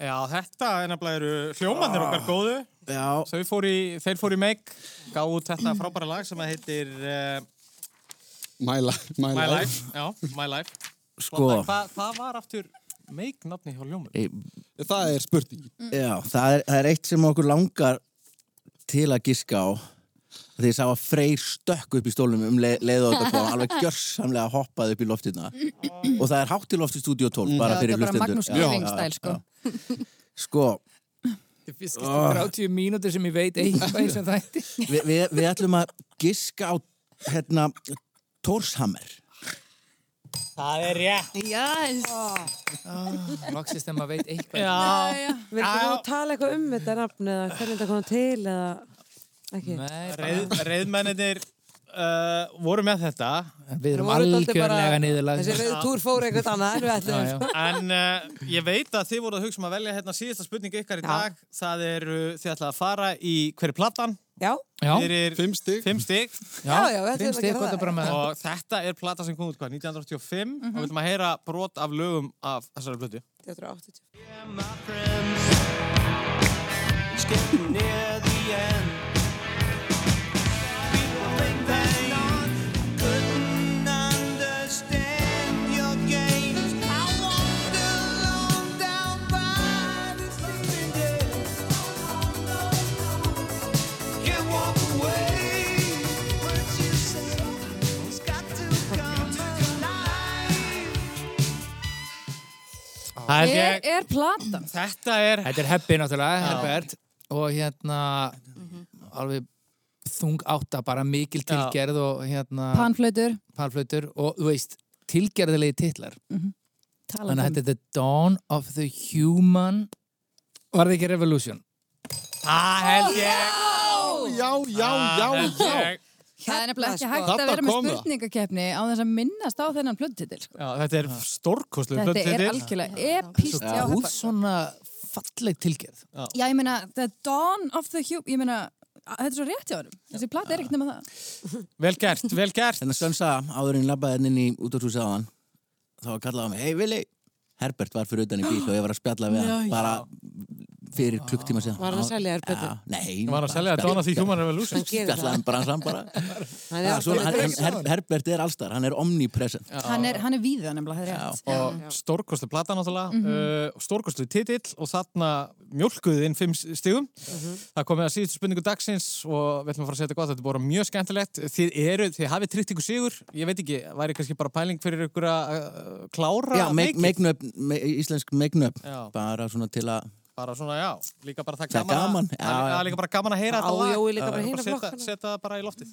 Já, þetta er nefnilega eru hljómanir okkar góðu.
Já,
Þau fóru í, þeir fóru í meik, gáðu út þetta frábæra lag sem að heitir uh,
My, li my,
My
life.
Life. Já, My Life.
sko
Hvað hva hvað var aftur meiknafni hjá hljómanir?
e,
Það er spurning.
Mm. Já, það er, það er eitt sem okkur langar til að giska á því ég sá að Freyr stökk upp í stólnum um leið, leið og þetta kom, alveg gjörsamlega hoppaði upp í loftina og það er hátt til lofti Studio 12, bara
Mm. Já,
fyrir
þetta er bara Magnús
hlustendur Já,
Gylfing
já,
stæl, sko.
já. Sko,
Þetta er fyrst 30 mínútur sem ég veit eitthvað eins og þætti. <laughs>
við, við, við ætlum að giska á hérna, Tórshammer
Það er rétt.
Yes
Loksist þegar maður veit eitthvað.
Já,
Við erum ekki að tala eitthvað um þetta nafn eða hvernig þetta kom til eða ekki.
Nei, bara-
Reið, reiðmennir uh, voru með þetta
Við erum
Voru dálítið bara-
algjörlega niðurlag.
Þessi reyðtúr fór eitthvað annað en við ætlum.
Já, já.
en uh, ég veit að þið voru að hugsa um að velja hérna síðasta spurning ykkar í dag það er uh, þið ætlaði að fara í hverju platan
Já.
Já.
Fyrir
fimm stig.
Fimm stig.
Já, Já, já, við ætlum fimm að stig, gera gott það. er bara með-
Og þetta er plata sem kom út hvað, 1985 og við ætlum að heyra brot af lögum af þessari plötu.
1980.
It's getting near the end. People think they couldn't understand your games. I walked alone down by the sea Can't walk away. What you say has got to come alive.
Það er
Er,
ég-
er platan?
Þetta er...
Þetta er heppi náttúrulega,
Já.
Herbert og hérna alveg þung átta bara mikil tilgerð og hérna
Panflautur.
panflautur og þú veist, tilgerðilegi titlar
Talandi
þannig að
um-
þetta er The Dawn of the Human var það ekki Revolution?
Það held ég
Já, já, já, já
Það er nefnilega ekki
Hérna,
hægt
sko.
að vera
Þarna
með
kom það.
spurningakefni á þess að minnast á þennan plötutitil. Sko.
Já, þetta er stórkostlega
Þetta er algjörlega epíst.
Já,
hjá
góð
Heppa.
svona falleg tilgerð
Já, ég meina, The Dawn of the Human, ég meina, að- þetta er svo rétt hjá honum. Þessi plata er ekkert nema það.
Vel gert, vel gert
Þannig Hérna, að Sönsa áður en ég labbaði henni inn í útvartús áðan þá kallaði hann mig, hei Vili Herbert var fyrir utan í bíl og ég var að spjalla við
Já, já.
hann bara fyrir klukktíma síðan
Var hann að selja þér betur?
Já, Ah, Nei
Var hann að selja þér Dawn of the Human Revolution? Hann gerir það.
Spjallaði hann bara hann bara
Hann er
Já, svona,
alltaf
hann,
með
hann, Her, Herbert er allstar, hann er omnipresent
Hann er, hann er víða nefnilega, það er rétt.
og stórkostu plata náttúrulega mm
Mhm.
stórkostu titill og þarna mjölkuðu inn fimm stigum
Mhm.
það komið að síðustu spurningu dagsins og við ætlum að fara að segja þetta gott, þetta er bara mjög skemmtilegt þið eru, þið hafið tryggt ykkur sigur ég veit ekki, væri kannski bara pæling fyrir ykkur að uh, klára
Já, make,
leikinn?
make up, me, íslensk megnöp
Já.
bara svona til að
bara svona, já, líka bara það
Það er
gaman,
gaman,
að-
já,
það er
já.
líka- líka bara gaman að heyra
Það
þetta lag
ájói líka bara
Já,
hina
setja- setja það bara í loftið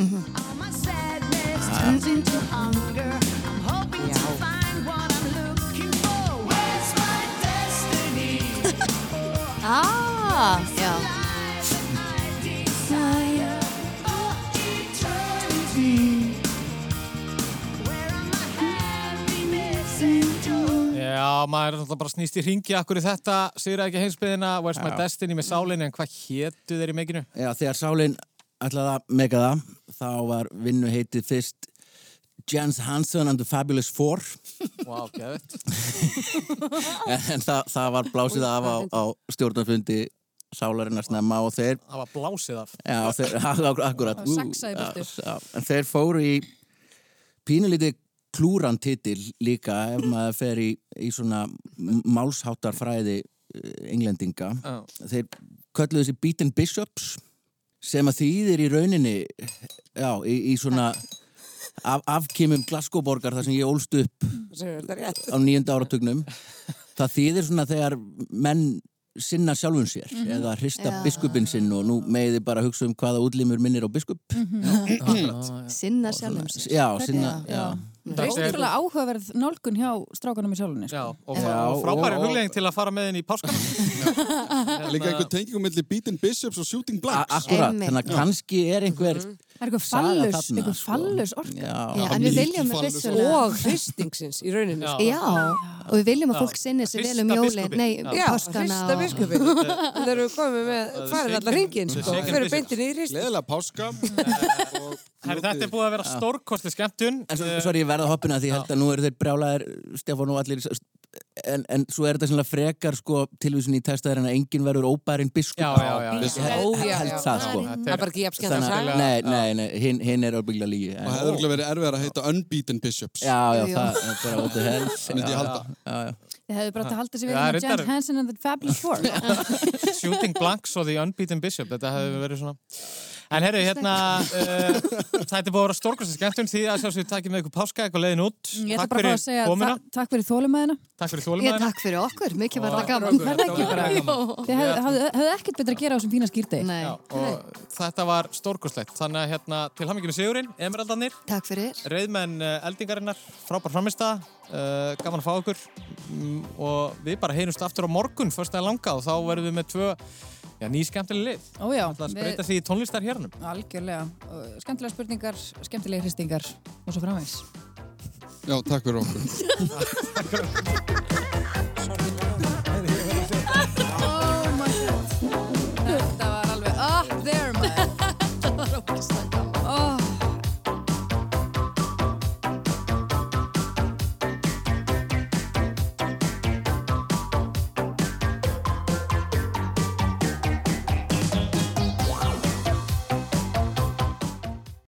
All my sadness turns into hunger. I'm hoping to find what I'm looking for. Where's my destiny?
<laughs> Ah, já.
Desire for eternity. Where are my happiness and joy?
Já, maður er náttúrulega bara snýst í ringi akkur í þetta, sigraði ekki heimsbyðina Where's my
Já.
destiny með sálinni, en hvað hétu þeir í meginu?
Já, þegar Sálin ætlaði að mega það, þá var vinnu heitið fyrst Jens Hansen and the Fabulous Four,
Vá, geðvitt
en, en það, það var blásið af á, á stjórnarfundi Sálarinn að snemma og þeir,
Það var blásið af
já, þeir, <laughs> akkurat,
Það var saxað í burtu.
en þeir fóru í pínulítið klúran titil líka ef maður fer í, í svona málsháttarfræði eh, englendinga.
Já.
Þeir kölluðu þessi Beaten Bishops sem að þýðir í rauninni já, í, í svona af, afkimum Glasgow-borgar þar sem ég ólst upp
Þetta er rétt.
á nýjönda áratugnum það þýðir svona þegar menn sinna sjálfum sér
Mhm.
eða hrista
Já.
biskupin sinn og nú meði bara hugsa um hvaða útlimur minnir á biskup
Sinna sjálfum sér.
já, sinna,
Hvernig-
já,
Það er ótrúlega áhugaverð nálgun hjá strákunum í sjálfunni. Sko.
Já, og,
Já,
og frábæri
og-
huglegin til að fara með henni í páskan
Líka
hérna-
einhver tengingum mellir Beating Bishops og Shooting Blacks
Akkurat, þannig að kannski er einhver
Það er eitthvað
Saga
fallus,
þarna,
eitthvað
sko.
fallus orka.
Já,
en við viljum að vissulega-
Og hristingsins í rauninni. sko.
Já, og við viljum að fólk sinni sér vel um
Hrista
jólin,
biskupinn.
nei,
Já,
páskana
hrista biskupinn.
og...
Það eru komið með, farið allar hringin, sko.
shaken
Fyrir
bishop.
beintin í hrist.
Leðilega páska
<laughs> Herri, þetta er búið að vera
Já.
stórkostli skemmtun
En svo, svo er ég verða hoppina því ég held að nú eru þeir brjálaðir Stefán og allir en, en svo er þetta svona frekar sko tilvísin í testaðir en að enginn verður óbærin biskup
Já, já, já, já.
Ég held-
Ó, já,
held
já.
það sko
Það er bara ekki jafn skemmt að
Þannig
saga.
Nei, nei, nei, hinn, hinn er örbygglega lígi
og hefur örugglega verið erfiðar að heita Unbeaten Bishops
Já, já, það er bara what the hell
Myndi ég halda.
Já, já,
Þið hefðu bara átt að halda sér
Já,
við með
reyndar-
Jens Hansen and the Fabulous Four.
eh, Shooting Blanks og The Unbeaten Bishop Þetta
Mm.
hefði verið svona En herru, hérna uh, Þetta er búið að vera stórkostli skemmtun því að sjálfsög takk með ykkur páska, eitthvað leiðin út
Mm, Ég ætla
Takk
bara að fá að
fyrir
segja
komuna,
þa- takk fyrir þólumæðina.
takk fyrir
Ég
þólumæðina
takk fyrir okkur, mikið var
Ó,
það gaman.
þetta var bara gaman.
Þið hefðu- hafðu hefðu ekkert betra að gera á þessum fína skýrtegi.
Nei,
og þetta var stórkostlegt þannig að hérna, til haminginu Sigurinn, Emeraldarnir
takk fyrir.
reyðmenn eh, eldingarinnar, frábær framista uh, gaman að fá okkur mm, og við bara heyrumst aftur á morgun fyrst að langa og þá verðum við með tvö já, ný skemmtileg lið
Ó já,
það
við-
spreyta sig í tónlistar hérnum
Algjörlega. Uh, Skemmtilega spurningar, skemmtilega hristingar og svo framvegs.
Já, takk fyrir okkur
Takk fyrir.
Ah,